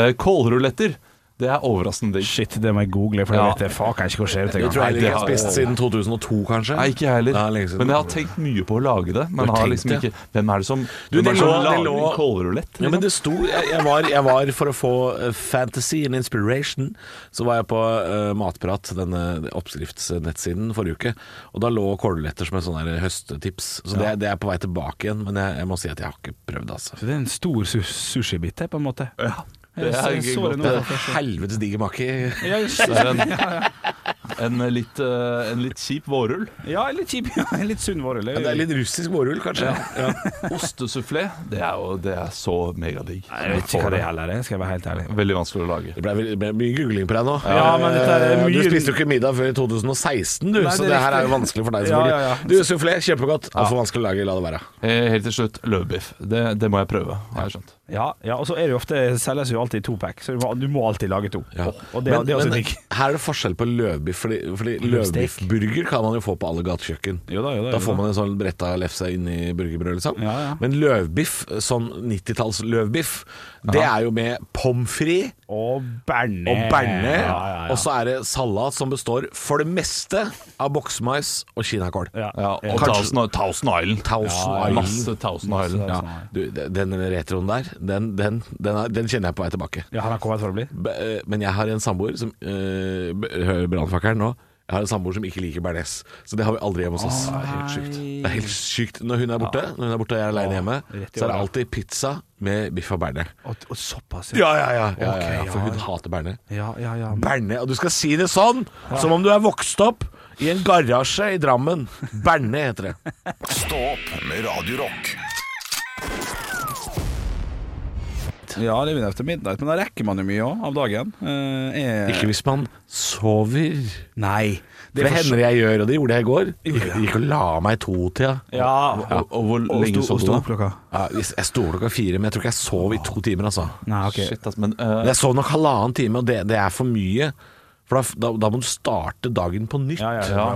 S2: Eh, Kålruletter, det er overraskende digg.
S1: Shit, det må jeg google, for jeg
S2: Ja.
S1: vet det faen kan ikke hva skjer ut
S3: Det tror jeg
S2: Nei,
S3: heller ikke jeg har
S2: det har-
S3: spist siden 2002, kanskje.
S2: Nei, ikke jeg heller.
S3: Nei, lenge siden.
S2: Men jeg har tenkt mye på å lage det. Men
S3: Du har
S2: har
S3: tenkt
S2: liksom
S3: det?
S2: ikke Hvem er det som,
S3: Du,
S2: hvem er
S3: det
S2: det som
S3: lå- det
S2: lager
S3: lå-
S2: en kålrulett? liksom?
S3: Ja, men det sto jeg, jeg, var, jeg var for å få eh, fantasy and inspiration. Så var jeg på eh, Matprat, denne oppskriftsnettsiden, forrige uke. Og da lå kålruletter som et sånn her høstetips. Så det, det er på vei tilbake igjen, men jeg, jeg må si at jeg har ikke prøvd, altså.
S1: Så det er en stor su sushibit, det, på en måte.
S2: Ja,
S1: Jeg
S2: det er
S1: så- jeg så
S2: godt.
S1: det nå.
S3: Det er helvetes diger makke.
S1: Ja,
S2: Det er en, en, litt, eh, en litt kjip vårrull.
S1: ja, en litt kjip, ja, en litt sunn vårrull.
S3: Ja, Det er litt russisk vårrull, kanskje. Ja.
S2: Ostesufflé, det er jo det er så megadigg.
S1: Jeg vet ikke hva det heller er, skal jeg være helt ærlig.
S2: Veldig vanskelig å lage.
S3: Det ble, vel- det ble mye googling på deg nå.
S1: Ja, men dette er
S3: Eh,
S1: mye-
S3: Du spiste jo ikke middag før i 2016, du,
S1: Nei, det
S3: så
S1: er
S3: det her
S1: riktig.
S3: er jo vanskelig for deg,
S1: Ja,
S3: selvfølgelig.
S1: ja, ja.
S3: Du, sufflé, kjempegodt. Altfor vanskelig å lage, la det være.
S2: Eh, Helt til slutt, løvbiff. Det, det må jeg prøve, har jeg skjønt.
S1: Ja, ja, og så er det jo ofte, selges jo alltid topack, så du må, du må alltid lage to. Og det,
S3: men,
S1: det er også
S3: men
S1: digg.
S3: her er det forskjell på løvbiff, fordi, fordi
S1: Løvstek.
S3: løvbiffburger kan man jo få på alle gatekjøkken.
S1: Jo da, jo da,
S3: Da
S1: jo
S3: får
S1: da.
S3: man en sånn bretta lefse inni burgerbrød, liksom.
S1: Ja, ja.
S3: Men løvbiff, sånn 90-talls løvbiff, det er jo med pommes frites
S1: Og berne.
S3: og berne,
S1: Ja, ja, ja.
S3: og så er det salat som består for det meste av boksmais og kinakål.
S1: Ja.
S2: Ja, og
S3: Kanskje-
S2: Thousand, Thousand Island.
S3: Thousand Island.
S2: Masse Thousand
S1: Masse
S2: Island. altså. Ja.
S1: Thousand Island.
S3: Du, den retroen der, den, den, den, er, den kjenner jeg på vei tilbake.
S1: Ja, han har kommet for å bli.
S3: B eh, men jeg har en samboer som eh, b- Hører brannfakkelen nå? Jeg har en samboer som ikke liker bearnés, så det har vi aldri hjemme hos oss.
S1: det er helt sykt.
S3: Det er helt sykt. Når hun er borte, når hun er borte og jeg er aleine hjemme,
S1: rett i
S3: så er det
S1: åra.
S3: alltid pizza med biff og bearnés.
S1: Og, og såpass,
S3: Ja, ja, ja, ja, ja,
S1: Ok,
S3: ja, for
S1: ja.
S3: hun hater bearnés.
S1: Ja, ja, ja.
S3: Berne, og du skal si det sånn, som om du er vokst opp i en garasje i Drammen. Berne heter det.
S4: Stå opp med Radio Rock.
S1: ja Living After Midnight. Men da rekker man jo mye òg, av dagen. Eh, jeg-
S3: Ikke hvis man sover.
S1: Nei.
S3: Det,
S1: er for-
S3: hender jeg gjør, og det gjorde jeg i går.
S1: Gjorde
S3: Gikk, gikk og la meg i to-tida.
S1: Ja.
S3: Og, og, og hvor
S1: Og
S3: lenge
S1: sto-
S3: sov
S1: og
S3: du
S1: sto
S3: da?
S1: opp klokka?
S3: Ja, hvis- jeg sto opp klokka fire, men jeg tror ikke jeg sov i to timer, altså.
S1: Nei, ok.
S2: Shit, ass, men eh,
S3: Men Jeg sov nok halvannen time, og det, det er for mye. For da, da, da må du starte dagen på nytt.
S1: Ja, ja, ja.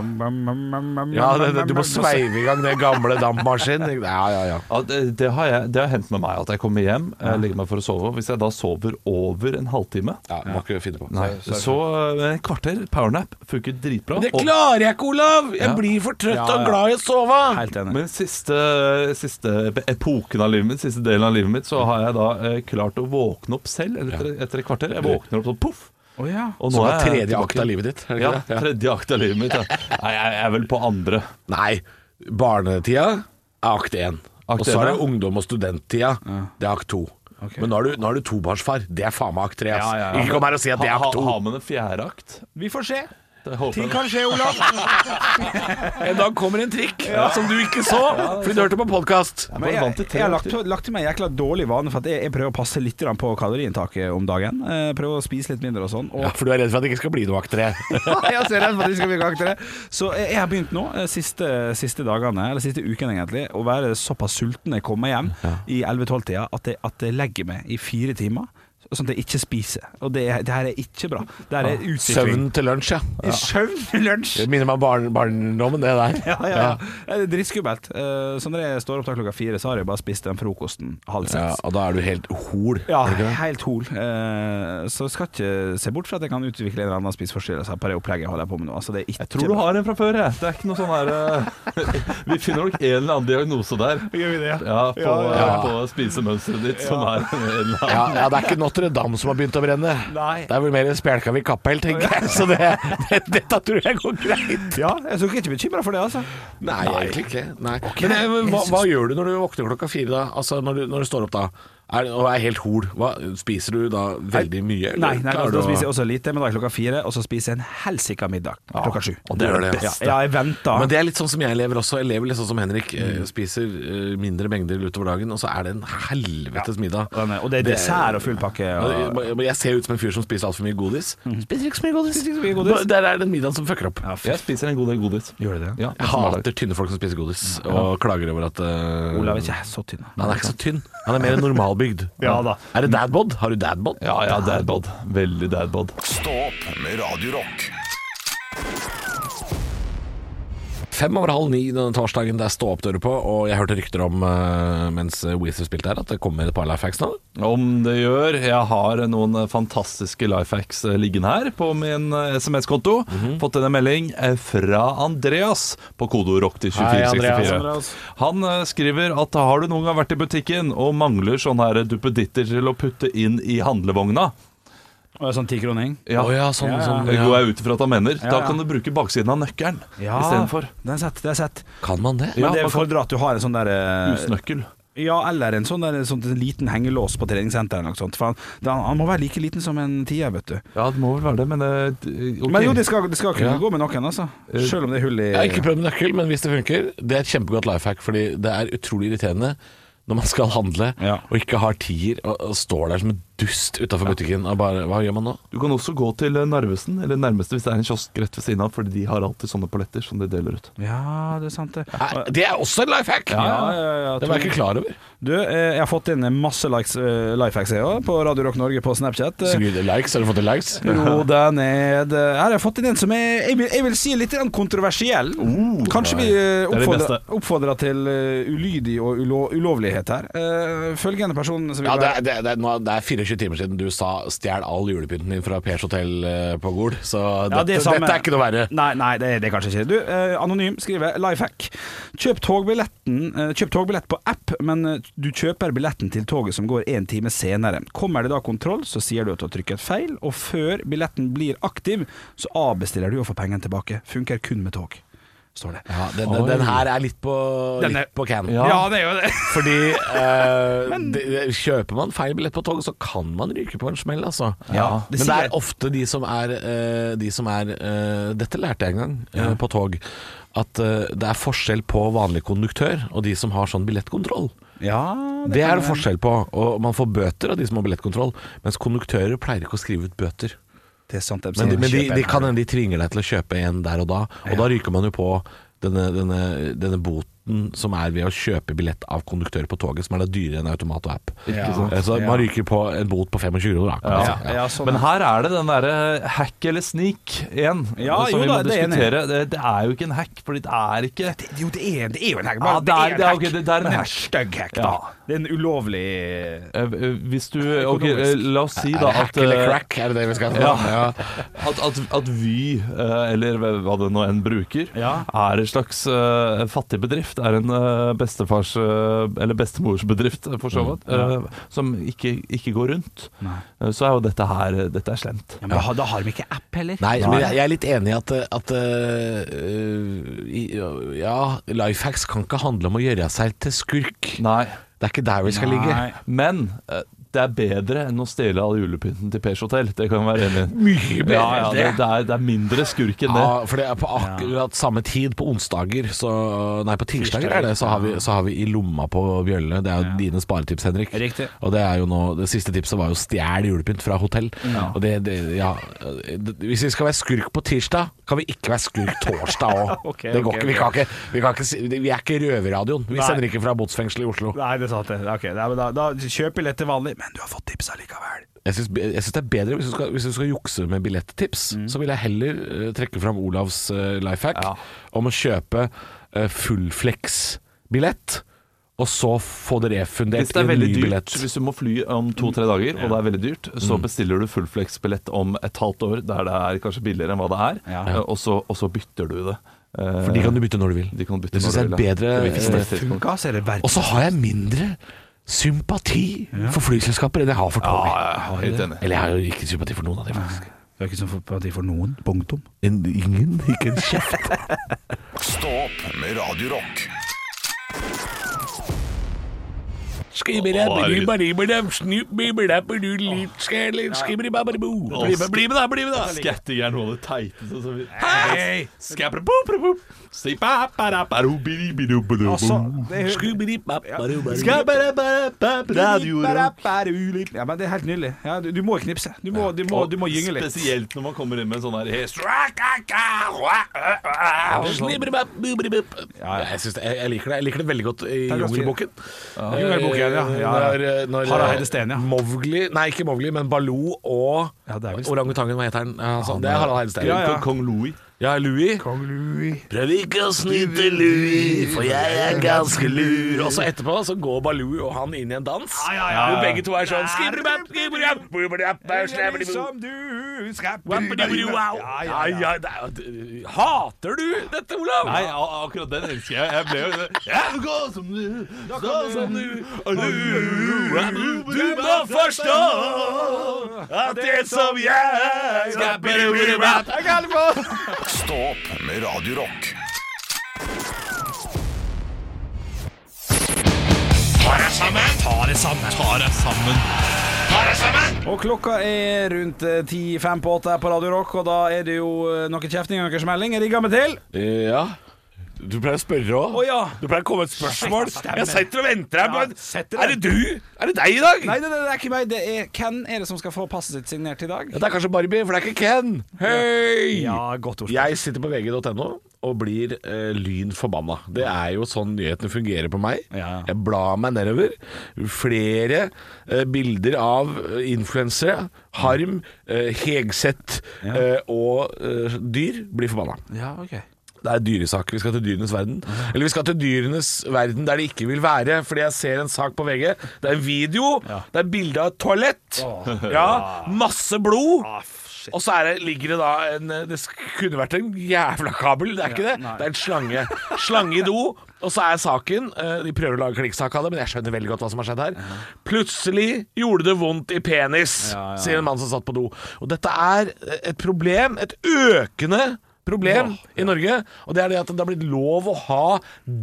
S3: Ja, det, det, du må sveive i gang den gamle dampmaskinen. Ja, ja, ja.
S2: Ja, det, det har, jeg- det har hendt med meg at jeg kommer hjem, jeg legger meg for å sove. Hvis jeg da sover over en halvtime
S3: ja må ikke finne på.
S2: Nei, så eh, et kvarter powernap funker dritbra.
S3: Det
S2: og-
S3: klarer jeg ikke, Olav! Jeg blir for trøtt
S1: Ja, ja.
S3: og glad i å sove!
S1: Helt enig.
S2: men siste, siste epoken av livet mitt, siste delen av livet mitt, så har jeg da eh, klart å våkne opp selv etter, etter et kvarter. Jeg våkner opp sånn poff!
S1: Å ja.
S2: Og
S3: Som er
S2: jeg
S3: tredje
S2: tilbake.
S3: akt av livet ditt. er det
S2: Ja,
S3: ikke det?
S2: tredje akt av livet mitt. Ja. Nei, jeg er vel på andre.
S3: Nei, barnetida er akt én.
S2: Akt
S3: Og så er
S2: én,
S3: det
S2: ja.
S3: ungdom- og studenttida. Det er akt to.
S1: Ok.
S3: Men nå er, du, nå er du tobarnsfar. Det er faen meg akt tre. ass.
S2: Ja, ja, ja.
S3: Ikke kom her og si at det er
S2: Ha- ha-
S3: akt to.
S2: Ha med en fjerde akt.
S1: Vi får se.
S2: Det håper
S1: Ting
S2: jeg.
S1: kan skje, Olav.
S3: En dag Eh, kommer en trikk som du ikke så fordi du hørte på podkast.
S2: Jeg
S1: Men
S2: bare vant
S1: jeg,
S2: til tre
S1: jeg har
S2: akter.
S1: lagt, lagt til meg en jækla dårlig vane, for at jeg, jeg prøver å passe litt grann på kaloriinntaket om dagen. Eh, Prøver å spise litt mindre og sånn. Og
S3: Ja, for du er redd for at det ikke skal bli noe akt tre.
S1: jeg er så redd for at de skal bli kaktere. Så jeg jeg har begynt nå, eh, siste, siste dagene, eller siste uken egentlig, å være såpass sulten når jeg kommer hjem i 11-12-tida at, jeg- at jeg legger meg i fire timer. Sånn at jeg ikke spiser. Og det, er- det her er ikke bra. Det
S2: Ah.
S1: her er utvikling.
S3: Søvn til lunsj, ja.
S1: I Søvn til lunsj!
S3: Det minner meg om barn, barndommen, det der.
S1: Ja, ja, ja. Det er dritskummelt. Eh, Så når jeg står opp til klokka fire, så har jeg bare spist den frokosten halv
S3: Ja,
S1: seks.
S3: og da er du helt hol.
S1: Ja,
S3: er du ikke det?
S1: helt hol. Eh, Så skal ikke se bort fra at jeg kan utvikle en eller annen spiseforstyrrelse på det opplegget jeg holder på med nå. Altså, det er ikke
S2: Jeg tror du har en fra før, jeg. Det er ikke noe sånn her eh, Vi finner nok en eller annen diagnose der.
S1: Gjør vi det,
S2: Ja, på,
S3: ja.
S2: på spisemønsteret ditt, som er en eller annen
S3: Ja, ja, det er ikke Notre-Dame som har begynt å brenne.
S1: Nei.
S3: Det er vel mer Spjelkavi kapphell, tenker jeg. Så det, det, dette tror jeg går greit.
S1: Ja, jeg skal ikke bekymre for det, altså.
S3: Nei, egentlig ikke. Nei. Men eh, hva, hva gjør du når du våkner klokka fire, da? Altså når du, når du står opp da er, og er helt hol. Hva, spiser du da veldig mye? eller
S1: Nei, nei
S3: klarer
S1: da
S3: du å-
S1: spiser jeg også lite, men da er klokka fire, og så spiser jeg en helsika middag klokka sju.
S3: og det er det
S1: Ja,
S3: beste.
S1: ja, Mm. jeg venter.
S3: Men det er litt sånn som jeg lever også. Jeg lever litt sånn som Henrik. eh, Spiser eh, mindre mengder utover dagen, og så er det en helvetes middag.
S1: Den er- og det er dessert og full pakke.
S3: Ja,
S1: Og,
S3: men Jeg ser ut som en fyr som spiser altfor mye godis. Spiser ikke så mye godis.
S1: ikke så mye Mm. godis.
S3: Der er den middagen som fucker opp.
S2: Jeg spiser en god del godis.
S1: Gjør du det?
S2: Ja,
S3: Jeg hater tynne folk som spiser godis, og klager over at eh,
S1: Olav er ikke så tynn.
S3: Han er ikke så tynn. Han er mer normalbygd.
S1: Ja da.
S3: Er det dadbod? Har du dadbod?
S2: ja, ja dadbod. Veldig dadbod.
S4: Stå opp med Radio Rock.
S3: Fem over halv ni denne torsdagen, det er stå opp dører på, og jeg hørte rykter om eh, mens Weezer spilte her, at det kommer et par life hacks nå.
S2: Om det gjør. Jeg har noen fantastiske life hacks liggende her på min eh, SMS-konto.
S1: Mhm.
S2: Fått en melding eh, fra Andreas på kodeord rock til
S3: Hei, Andreas.
S2: 2464. Han eh, skriver at har du noen gang vært i butikken og mangler sånne her duppeditter til å putte inn i handlevogna?
S1: Og sånn tikroning.
S3: Å ja, sånn,
S1: Ja, ja.
S3: sånn
S2: Det
S3: ja.
S2: går jeg ut ifra at han mener. Da
S1: ja.
S2: kan du bruke baksiden av nøkkelen
S1: Ja, Eh.
S2: istedenfor.
S1: den er sett. Det er sett.
S3: Kan man det?
S1: Men
S2: Ja,
S1: det
S2: man kan-
S1: fordrer at du har en sånn der eh,
S2: Husnøkkel.
S1: Ja, eller en sånn, der, sånn liten hengelås på treningssenteret eller noe sånt. For han, han, han må være like liten som en tier, vet du.
S2: Ja, det må vel være det, men eh, ok.
S1: Men jo, det skal, det skal kunne
S3: Ja.
S1: gå med noen, altså. Selv om det er hull i
S3: Jeg har ikke prøvd med nøkkel, men hvis det funker Det er et kjempegodt life hack, fordi det er utrolig irriterende når man skal handle
S1: Ja.
S3: og ikke har tier og, og står der som en dust utafor butikken og bare Hva gjør man nå?
S2: Du kan også gå til eh, Narvesen, eller nærmeste hvis det er en kiosk rett ved siden av, fordi de har alltid sånne polletter som de deler ut.
S1: Ja, det er sant, det.
S3: Nei, det er også en life hack!
S1: Ja, ja, ja,
S3: det var jeg ikke klar over.
S1: Du, eh, jeg har fått inn masse likes, eh, lifehacks jeg også, på Radio Rock Norge på Snapchat.
S3: Så
S1: Eh,
S3: mye likes, har du fått en likes?
S1: Ro deg ned. Eh, Her har jeg fått inn en som er jeg vil, jeg vil si litt grann kontroversiell. Kanskje vi eh,
S2: Det Oh, er det
S1: oppfordrer,
S2: beste.
S1: oppfordrer til eh, ulydig og ulo, ulovlighet her. Eh, følgende person som vil
S3: Ja, det
S1: være
S3: er, det, er, det, er, nå- det er 24 timer siden du sa 'stjel all julepynten din fra Pers hotell eh, på Gol', så
S1: Ja,
S3: dette,
S1: det samme.
S3: dette er ikke noe verre.
S1: Nei, nei det, er, det er kanskje ikke det. Du, eh, Anonym skriver Lifehack. Kjøp togbilletten eh, Kjøp togbillett på app, men eh, du kjøper billetten til toget som går en time senere. Kommer det da kontroll, så sier du at du har trykket feil, og før billetten blir aktiv, så avbestiller du og får pengene tilbake. Funker kun med tog, står det.
S3: Ja, den, den, den her er litt på,
S1: Den er-
S3: litt på can.
S2: Ja.
S1: det er jo det.
S3: Fordi eh, det- det- kjøper man feil billett på tog, så kan man ryke på en smell, altså.
S1: Ja, det
S3: Men det
S1: sier-
S3: er ofte de som er, eh, de som er eh, Dette lærte jeg en gang eh, på tog. At eh, det er forskjell på vanlig konduktør og de som har sånn billettkontroll.
S1: Ja,
S3: Det er det forskjell på. Og man får bøter av de som har billettkontroll, mens konduktører pleier ikke å skrive ut bøter.
S1: det er sant.
S3: Men de, men de,
S1: Kjøp en.
S3: de kan hende de tvinger deg til å kjøpe en der og da, og da ryker man jo på denne, denne, denne boten som er ved å kjøpe billett av konduktør på toget, som er da dyrere enn automat og app.
S1: Ja.
S3: Eh, Så
S1: Ja.
S3: man ryker på en bot på 25 kroner. Da, kan man
S1: ja,
S3: si.
S1: ja, sånn.
S2: Men her er det den derre hack eller sneak igjen,
S1: Ja,
S2: som
S1: jo
S2: vi må
S1: da, det er jeg enig i.
S2: diskutere. Det, det er jo ikke en hack, fordi det er ikke
S1: Det- Jo, det er, det er jo en hack.
S2: Ja,
S1: bare-
S2: det er- det er-
S1: hack,
S2: ok, det- det er en
S1: men
S2: hack.
S1: stygg hack,
S2: Ja.
S1: da. Det er en ulovlig
S2: Eh, eh, Hvis du Ok, eh, la oss si
S3: Er
S2: da
S3: det hack
S2: at eh,
S3: eller crack, er det det vi skal ha?
S2: Ja. At, at, at Vy, eh, eller hva det nå enn bruker,
S1: Ja.
S2: er en slags eh, fattig bedrift. Er en eh, bestefars eh, eller bestemorsbedrift, for
S1: Mm,
S2: så vidt, eh, som ikke, ikke går rundt. Eh, Så er jo dette her eh, Dette er slemt.
S1: ja, men da, har- da har de ikke app heller.
S3: Nei, men jeg jeg er litt enig i at, at øh, i- Ja, lifehacks kan ikke handle om å gjøre seg til skurk.
S2: Nei.
S3: Det er ikke der vi skal
S1: Nei.
S3: ligge.
S2: Men eh, det er bedre enn å stjele all julepynten til Pers hotell. Det kan vi være enig i.
S3: Mye bedre.
S2: Ja, ja, det, det, er, det er mindre skurk enn det.
S3: Ja, for det er på akkurat samme tid på onsdager så, Nei, på tirsdager er det Så har vi, så har vi i lomma på Bjølle Det er jo dine sparetips, Henrik
S1: Riktig.
S3: Og det er jo nå Det siste tipset var jo stjæl julepynt fra hotell Og det, det, ja det- Hvis vi skal være skurk på tirsdag Kan vi ikke være skurk torsdag også
S1: Ok,
S3: Det går
S1: ok,
S3: ikke Vi kan ikke Vi, kan ikke, si- vi er ikke røverradioen Vi
S1: Nei.
S3: sender ikke fra botsfengsel i Oslo
S1: Nei, det sa det. Ok, nei, men da, da kjøper jeg lett til vanlig, men du har fått tips allikevel.
S3: Jeg syns, jeg synes det er bedre hvis du skal, hvis du skal jukse med billetttips. Så vil jeg heller eh, trekke fram Olavs uh, life hack
S2: Mm. Ja.
S3: om å kjøpe uh, fullflex-billett, og så få det refundert
S2: Hvis det
S3: i
S2: er
S3: en
S2: veldig
S3: ny
S2: dyrt,
S3: billett.
S2: hvis du må fly om to-tre dager, og det er veldig dyrt, så bestiller du fullflex-billett om et halvt år, der det er kanskje billigere enn hva det er,
S1: Ja.
S2: eh, og, så, og så bytter du det. Eh,
S3: For de kan du bytte når du vil.
S2: de kan bytte
S3: det syns
S2: når
S3: jeg
S2: du
S3: er
S2: vil, ja.
S3: bedre.
S2: Det vil
S3: eh,
S2: ikke stå-
S1: Funka, så er det verdt
S3: og så har jeg mindre sympati for flyselskaper enn jeg har for
S2: Ja,
S3: toget.
S2: jeg er helt enig.
S3: Eller jeg har jo ikke sympati for noen av dem, faktisk.
S1: Det er ikke sånn for, at de får noen. Punktum.
S3: En, ingen, ikke en kjeft.
S4: Stå opp med Radio Rock.
S3: Bli med, da! Bli med, da!
S2: Skatting er noe av det teiteste som vi Skabrabobrabop. Sipaparaparo-biribirobobo.
S1: Altså, det er
S2: Skabarabarabarabaradio.
S1: ja, men det er helt nydelig. Ja, du, du må knipse. Du må, du må, du må gynge litt.
S2: Spesielt når man kommer inn med sånn her hest.
S3: sånn- Ja, jeg, synes det, jeg, jeg liker det Jeg liker det veldig godt i
S1: er ganske-
S3: Jungelboken. Eh,
S1: Jungelboken, ja, ja, ja.
S3: Når, eh, når
S1: Harald Eide Steen, ja.
S3: Mowgli Nei, ikke Mowgli, men Baloo og
S1: Ja, det er vel-
S3: orangutangen, hva heter han? Ja, altså, det er Harald Eide Steen.
S1: Ja, ja.
S2: Kong Louis.
S3: Ja, Louis. Prøv ikke å snyte Louis, for jeg er ganske lur. Og så etterpå så går Baloo og han inn i en dans.
S1: ja, ja.
S3: Hvor begge to er sånn skibribab, skibribab, skibribab, skibribab.
S1: Som du skal
S3: Wow.
S1: Ja, ja, ja.
S3: det er- Hater du dette, Olav?
S2: Nei, a- akkurat den elsker jeg. Jeg ble jo Ja, gå som du, gå som du og du, du må forstå at det som jeg skal
S4: Stå opp med Radio Rock.
S1: Og klokka er rundt eh, ti fem på åtte her på Radio Rock, og da er det jo eh, noe kjefting og noe smelling. Jeg rigger meg til.
S3: Ja. Du pleier å spørre òg.
S1: Å, ja.
S3: Du pleier å komme med et spørsmål.
S1: Stemmer.
S3: Jeg sitter og venter her.
S1: Ja,
S3: på en-
S1: setter
S3: er det du? Er det deg i dag?
S1: Nei, nei, nei, det er ikke meg. Det er Ken er det som skal få passet sitt signert i dag.
S3: Ja, det er kanskje Barbie, for det er ikke Ken. Hei!
S1: Ja, godt ordspill.
S3: Jeg sitter på vg.no og blir eh, lyn forbanna. Det er jo sånn nyhetene fungerer på meg.
S1: Ja.
S3: Jeg blar meg nedover. Flere eh, bilder av eh, influensere, harm, eh, Hegseth eh, og eh, dyr blir forbanna.
S1: Ja, ok
S3: Det er dyresak. Vi skal til dyrenes verden. Eller vi skal til dyrenes verden der de ikke vil være, fordi jeg ser en sak på VG. Det er en video, det er bilde av et toalett, ja, masse blod. Og så er det, ligger det da en Det kunne vært en jævla kabel, det er ikke det. Det er en slange. Slange i do. Og så er saken eh, De prøver å lage klikksak av det, men jeg skjønner veldig godt hva som har skjedd her. Plutselig gjorde det vondt i penis, sier en mann som satt på do. Og dette er et problem, et økende problem i Norge, og det er det at det har blitt lov å ha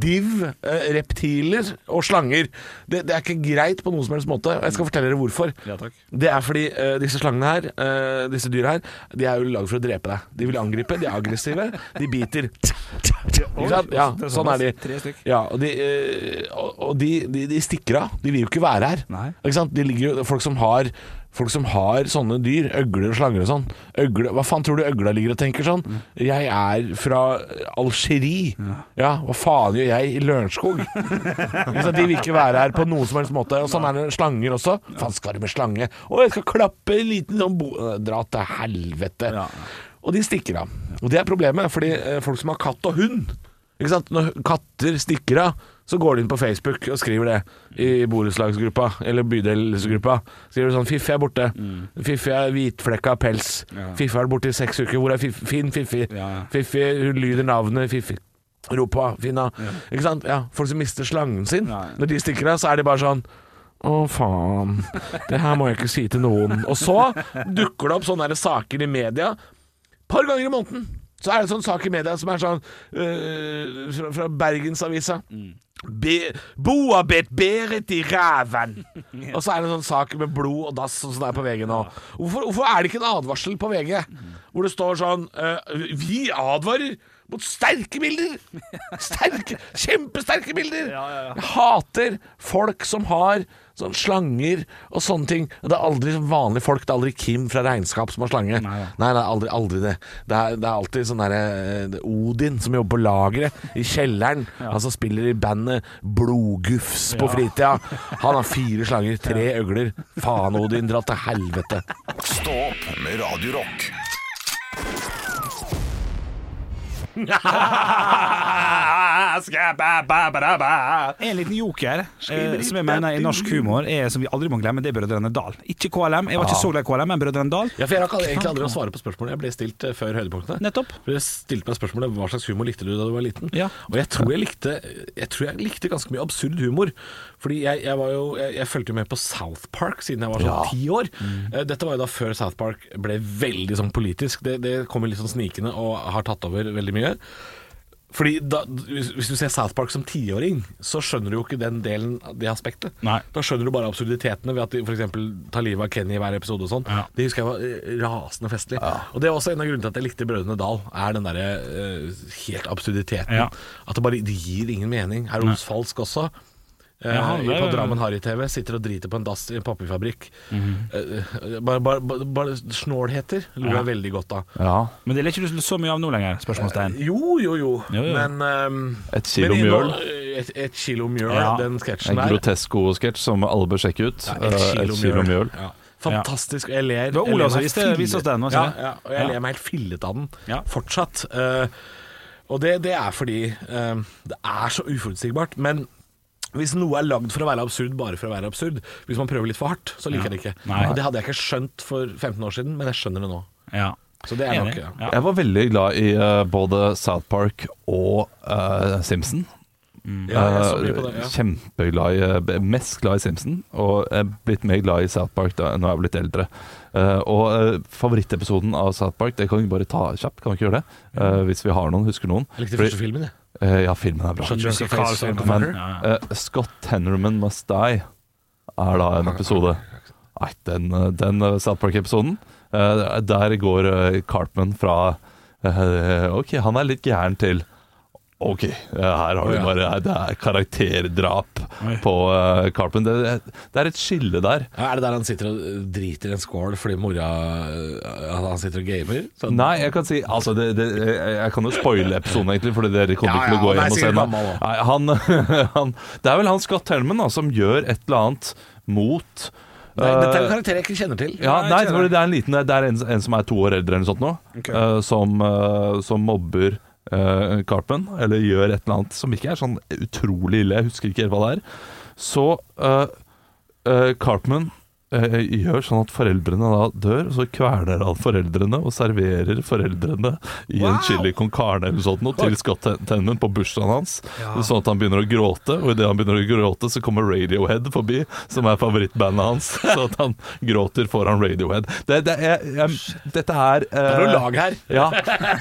S3: div, eh, reptiler og slanger. Det, det er ikke greit på noen som helst måte, og jeg skal fortelle dere hvorfor.
S1: Ja, takk.
S3: Det er fordi eh, disse slangene her, eh, disse dyra her, de er jo lagd for å drepe deg. De vil angripe, de er aggressive, de biter. Ikke sant? Ja,
S1: Det er
S3: sånn er de.
S1: Tre stykk.
S3: Ja, og de, eh, og- og de, de, de stikker av. De vil jo ikke være her.
S1: Nei.
S3: Ikke sant? De ligger jo, folk som har Folk som har sånne dyr, øgler og slanger og sånn øgle, Hva faen tror du øgla ligger og tenker sånn? Jeg er fra Algerie. Ja. hva faen gjør jeg i Lørenskog? Ikke sant? de vil ikke være her på noen som helst måte. Og sånn er det med slanger også. Faen skal du med slange? Å, jeg skal klappe en liten sånn bo... Dra til helvete.
S1: Ja.
S3: Og de stikker av. Og det er problemet, fordi eh, folk som har katt og hund ikke sant? Når katter stikker av, så går de inn på Facebook og skriver det i borettslagsgruppa eller bydelsgruppa. Skriver sånn 'Fiffi er borte'.
S1: Mm.
S3: 'Fiffi er hvitflekka pels'. 'Fiffi har vært borte i seks uker'. 'Hvor er Fiffi? Finn Fiffi'.
S1: Ja, ja.
S3: Fiffi, hun lyder navnet Fiffi. Ropa, Finna. Ikke sant? Ja, folk som mister slangen sin.
S1: Ja, ja.
S3: Når de stikker av, så er de bare sånn å, faen. Det her må jeg ikke si til noen. Og så dukker det opp sånne her saker i media. par ganger i måneden så er det sånn sak i media som er sånn øh, fra, fra Bergensavisa. Be, boa bet Berit i ræven. Og så er det en sånn sak med blod og dass som sånn er på VG nå. Hvorfor, hvorfor er det ikke en advarsel på VG hvor det står sånn øh, Vi advarer mot sterke bilder! Sterke, kjempesterke bilder! Jeg hater folk som har sånn slanger og sånne ting. Det er aldri sånn vanlige folk. Det er aldri Kim fra Regnskap som har slange. Nei, det er aldri, aldri det. Det er, det er alltid sånn derre eh, Odin som jobber på lageret, i kjelleren. Han som spiller i bandet Blodgufs på fritida. Han har fire slanger, tre øgler. Faen, Odin, dra til helvete.
S4: Stå opp med Radio Rock.
S1: En liten joker eh, som jeg mener i norsk humor er som vi aldri må glemme, det er Brødrene Dal. Ikke KLM, jeg var
S2: Ah.
S1: ikke så glad i KLM, men Brødrene Dal.
S3: Ja, for Jeg rakk egentlig aldri å svare på spørsmålet jeg ble stilt eh, før høydepunktene.
S1: Nettopp.
S3: For Jeg stilte meg spørsmålet hva slags humor likte du da du var liten.
S1: Ja.
S3: Og jeg tror jeg likte Jeg tror jeg likte ganske mye absurd humor. Fordi jeg, jeg var jo Jeg, jeg fulgte jo med på South Park siden jeg var sånn ti år.
S1: Mm.
S3: Eh, Dette var jo da før South Park ble veldig sånn politisk. Det, det kom jo litt sånn snikende og har tatt over veldig mye. Fordi da, hvis, hvis du ser South Park som tiåring, så skjønner du jo ikke den delen av det aspektet.
S1: Nei.
S3: Da skjønner du bare absurditetene ved at de f.eks. tar livet av Kenny i hver episode og sånn.
S1: Ja.
S3: Det husker jeg var eh, rasende festlig. Og det er også en av grunnene til at jeg likte Brødrene Dal, er den derre eh, helt absurditeten.
S1: Ja.
S3: At det bare det gir ingen mening. Er Os Falsk også? Eh,
S1: Ja, det er
S3: på
S1: jo-
S3: Drammen Harry-TV sitter og driter på en dass i en papirfabrikk.
S1: Mhm.
S3: Eh, eh, bare, bare, bare, bare snålheter lo jeg veldig godt av.
S2: Ja,
S1: Men det ler ikke du så mye av nå lenger? Spørsmålstegn.
S3: Jo, jo, jo,
S1: Jo, jo.
S3: men ehm,
S2: Et kilo
S3: men i-
S2: mjøl.
S3: Et, et kilo mjøl,
S1: Ja.
S3: den
S2: En
S3: sketsjen der.
S2: grotesko-sketsj som alle bør sjekke ut.
S3: Ja,
S2: Eh, Et kilo mjøl.
S3: Ja. Fantastisk. og Jeg ler.
S1: var
S3: jeg
S1: Olav
S3: ler
S1: som
S3: meg
S1: viste-
S3: fille-
S1: viste oss den, var det
S3: Ja,
S1: ikke det?
S3: ja, og jeg
S1: Ja.
S3: ler meg helt fillet av den
S1: Ja.
S3: fortsatt. Eh, og det, det er fordi eh, det er så uforutsigbart. Men hvis noe er lagd for å være absurd bare for å være absurd, hvis man prøver litt for hardt, så liker jeg det ikke.
S1: Nei.
S3: Og det hadde jeg ikke skjønt for 15 år siden, men jeg skjønner det nå.
S1: Ja.
S3: Så det er
S1: Enig.
S3: nok ja.
S1: Ja.
S2: Jeg var veldig glad i eh, både South Park og eh, Simpson.
S3: Ja, jeg så mye på det, ja.
S2: Eh, Kjempeglad i eh, Mest glad i Simpson, og jeg er blitt mer glad i South Park da, når jeg er blitt eldre. Eh, og eh, favorittepisoden av South Park, det kan vi bare ta kjapt, kan vi ikke gjøre det? Eh, hvis vi har noen, husker noen.
S3: Mm. Jeg likte
S2: Fordi-
S3: første filmen, jeg.
S2: Eh, ja, filmen er bra.
S3: Skjønner.
S1: Jurassic
S3: Jurassic
S1: Park,
S3: Park,
S1: sånn.
S2: Men
S1: Ja, ja.
S2: eh, Scott Hennerman Must Die er da en episode. Nei, den, eh, den eh, South Park-episoden. eh, der går eh, Cartman fra eh, OK, han er litt gæren til OK, eh, her har vi
S3: ja.
S2: bare Det er karakterdrap
S1: Oi.
S2: på eh, Cartman. Det, det er et skille der.
S3: Ja, er det der han sitter og eh, driter i en skål fordi mora eh, Han sitter og gamer? Sånn.
S2: Nei, jeg kan si Altså, det, det, jeg jeg kan jo spoile episoden, egentlig, Fordi dere kommer
S3: Ja,
S2: ikke til å
S3: ja,
S2: gå
S3: han er
S2: hjem og se
S3: sikkert
S2: den.
S3: gammel også.
S2: Nei, han, han, det er vel han Scott Helmen da, som gjør et eller annet mot
S3: Nei,
S2: eh,
S3: dette er en karakter jeg ikke kjenner til.
S2: ja,
S1: Nei,
S2: nei,
S1: ikke
S2: fordi det er en liten Det er en, en som er to år eldre eller noe sånt nå, eh, som, eh, som mobber eh, Carpen, eller gjør et eller annet som ikke er sånn utrolig ille, jeg husker ikke helt hva det er, så eh, eh, Cartman eh, gjør sånn at foreldrene da dør, og så kverner han foreldrene og serverer foreldrene i en chili con carne eller sånt noe til Scott Ten- Tenman på bursdagen hans, sånn at han begynner å gråte, og idet han begynner å gråte, så kommer Radiohead forbi, som er favorittbandet hans, så at han gråter foran Radiohead. Det, det er, jeg, dette er
S3: Det er noe
S2: eh,
S3: lag her.
S2: ja.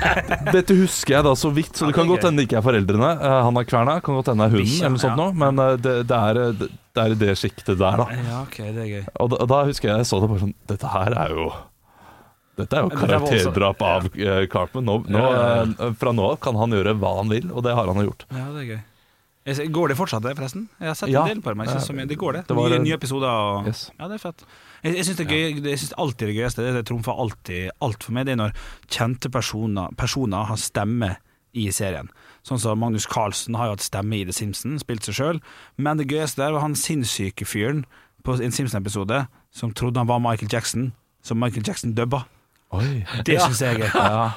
S2: Dette husker jeg da så vidt, så det kan godt hende det ikke er foreldrene. Eh, han er kverna, kan godt hende det er hunden, eller noe sånt nå, men eh, det, det, er, eh, det, det er i det sjiktet der, da.
S1: Ja, ok, det er gøy.
S2: Og da, og da husker jeg jeg så det bare sånn Dette her er jo dette er jo
S1: Men det var også-
S2: karakterdrap av eh, Cartman. Nå, nå, eh, fra nå av kan han gjøre hva han vil, og det har han jo gjort.
S1: Ja, det er gøy. Jeg ser- Går det fortsatt, det, forresten? Jeg har sett
S2: Ja.
S1: en del på det, men ikke så mye. Det går, det.
S2: Det var-
S1: nye, nye episoder og
S2: Yes.
S1: Ja, det er fett. Jeg, jeg syns det, er gøy- det- jeg synes alltid det gøyeste, det, det trumfer alltid alt for meg, det er når kjente personer, personer har stemme i serien. Sånn som Magnus Carlsen har jo hatt stemme i The Simpsons, spilt seg sjøl. Men det gøyeste der var han sinnssyke fyren på en Simpsons-episode som trodde han var Michael Jackson, som Michael Jackson dubba. Det syns jeg er gøy.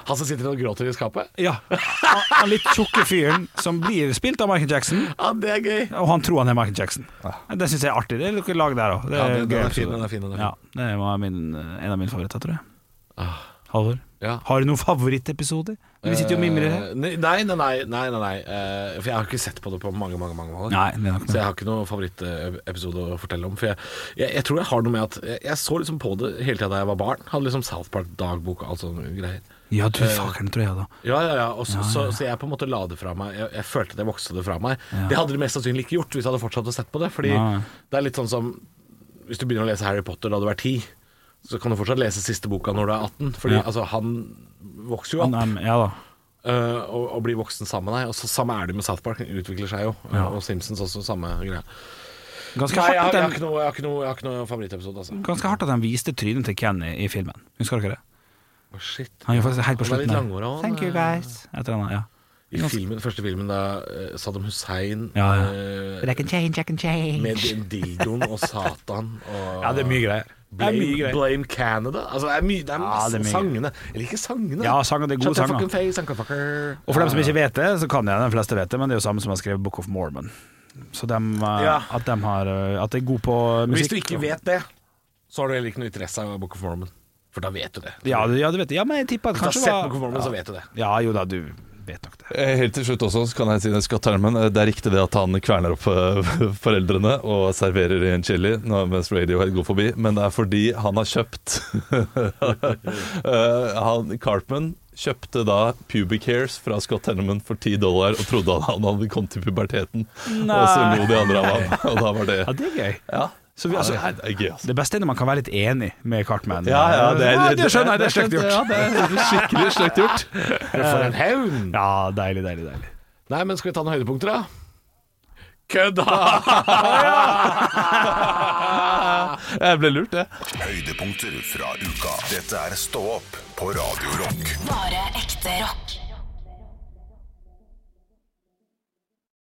S3: Han som sitter og gråter i skapet?
S1: Ja. Han, han litt tjukke fyren som blir spilt av Michael Jackson.
S3: Ja, det er gøy.
S1: Og han tror han er Michael Jackson. Det syns jeg er artig. Det er noe lag der òg. Det
S3: Ja,
S1: er
S3: den-
S1: en
S3: den
S1: gøy
S3: er fin,
S1: episode.
S3: den er fin, den er fin.
S1: Ja, det var min, en av mine favoritter, tror jeg.
S3: Ah,
S1: Halvor,
S3: Ja.
S1: har du noen favorittepisoder? Vi sitter jo og mimrer her.
S3: Eh, Nei, nei, nei, nei, nei, nei, nei. Eh, For jeg har ikke sett på det på mange, mange, mange år
S1: Nei, det er nok
S3: Så
S1: det.
S3: jeg har ikke noen favorittepisode å fortelle om For jeg, jeg, jeg tror jeg har noe med at Jeg, jeg så liksom på det hele tiden da jeg var barn Hadde liksom South Park-dagbok og alt sånne greier
S1: Ja, du
S3: Eh,
S1: fakeren, tror jeg, da.
S3: Ja, ja, ja, og så, Så, så jeg på en måte la det fra meg Jeg, jeg følte at jeg vokste det fra meg Det hadde de mest sannsynlig ikke gjort hvis jeg hadde fortsatt å sett på det Fordi
S1: Nei.
S3: det er litt sånn som Hvis du begynner å lese Harry Potter da du er 10 Så kan du fortsatt lese siste boka når du er 18 Fordi
S1: Ja.
S3: altså, han vokser jo opp
S1: Han, er- ja da.
S3: Eh, og, og bli voksen sammen med deg. Og så Samme er det med South Park, den utvikler seg jo. Eh, Og Simpsons også, samme greia.
S1: Ganske
S3: Nei, jeg, har-
S1: hardt,
S3: jeg,
S1: at
S3: har ikke
S1: den,
S3: noe- jeg har ikke noe, jeg har ikke noe favorittepisode, altså.
S1: ganske hardt at han viste trynet til Ken i, i filmen. Husker dere det?
S3: Å, shit.
S1: Han gjør faktisk helt på
S3: Han er litt
S1: slutten. der.
S3: langhåret, han. eh.
S1: Thank you guys. Et eller annet, ja.
S3: I filmen, første filmen da eh, Saddam Hussein
S1: Ja, ja.
S3: eh, med den dildoen og Satan og
S1: Ja, det er mye greier. Det er
S3: Blame,
S1: mye greier.
S3: Blame Canada. Altså, det er, mye, det er
S1: Ja,
S3: masse
S1: det er mye
S3: sangene. Jeg liker sangene.
S1: Ja, sanger, det er gode
S3: Shut your
S1: sanger.
S3: fucking Face, uncle fucker.
S1: Og for dem som ikke vet det, så kan jeg de fleste vet det, men det er jo samme som har skrevet Book of Mormon. Så dem, eh,
S3: Ja.
S1: at de har eh, At de er gode på musikk.
S3: Hvis du ikke vet det, så har du heller ikke noe interesse av Book of Mormon. For da vet du det.
S1: Ja, du- ja, du vet det. Ja, men jeg tipper at
S3: Hvis du har
S1: kanskje
S3: sett
S1: var-
S3: Book of Mormon, så vet du det.
S1: Ja, jo da, du vet nok det.
S2: Eh, Helt til slutt også så kan jeg si det, Scott Terman, eh, det er riktig det at han kverner opp eh, foreldrene og serverer i en chili når- mens Radiohead går forbi, men det er fordi han har kjøpt Eh, han, Cartman kjøpte da pubic hairs fra Scott Terman for 10 dollar og trodde han, han hadde kommet til puberteten, og så lo de andre av ham, og da var det
S1: Ja, det er gøy.
S2: Ja,
S1: Så vi,
S2: Ja,
S1: altså,
S2: det er- det er gøy, altså.
S1: det beste er når man kan være litt enig med Cartman.
S2: Ja, ja, det, er-
S1: det skjønner jeg, det er slekt
S2: Ja,
S1: gjort.
S2: det er skikkelig slekt gjort.
S3: For en hevn!
S1: Eh, Ja, deilig, deilig, deilig.
S3: Nei, men skal vi ta noen høydepunkter, da? Kødda!
S2: Jeg ble lurt, jeg.
S4: Høydepunkter fra uka. Dette er Stå opp på Radio Rock.
S5: Bare ekte rock.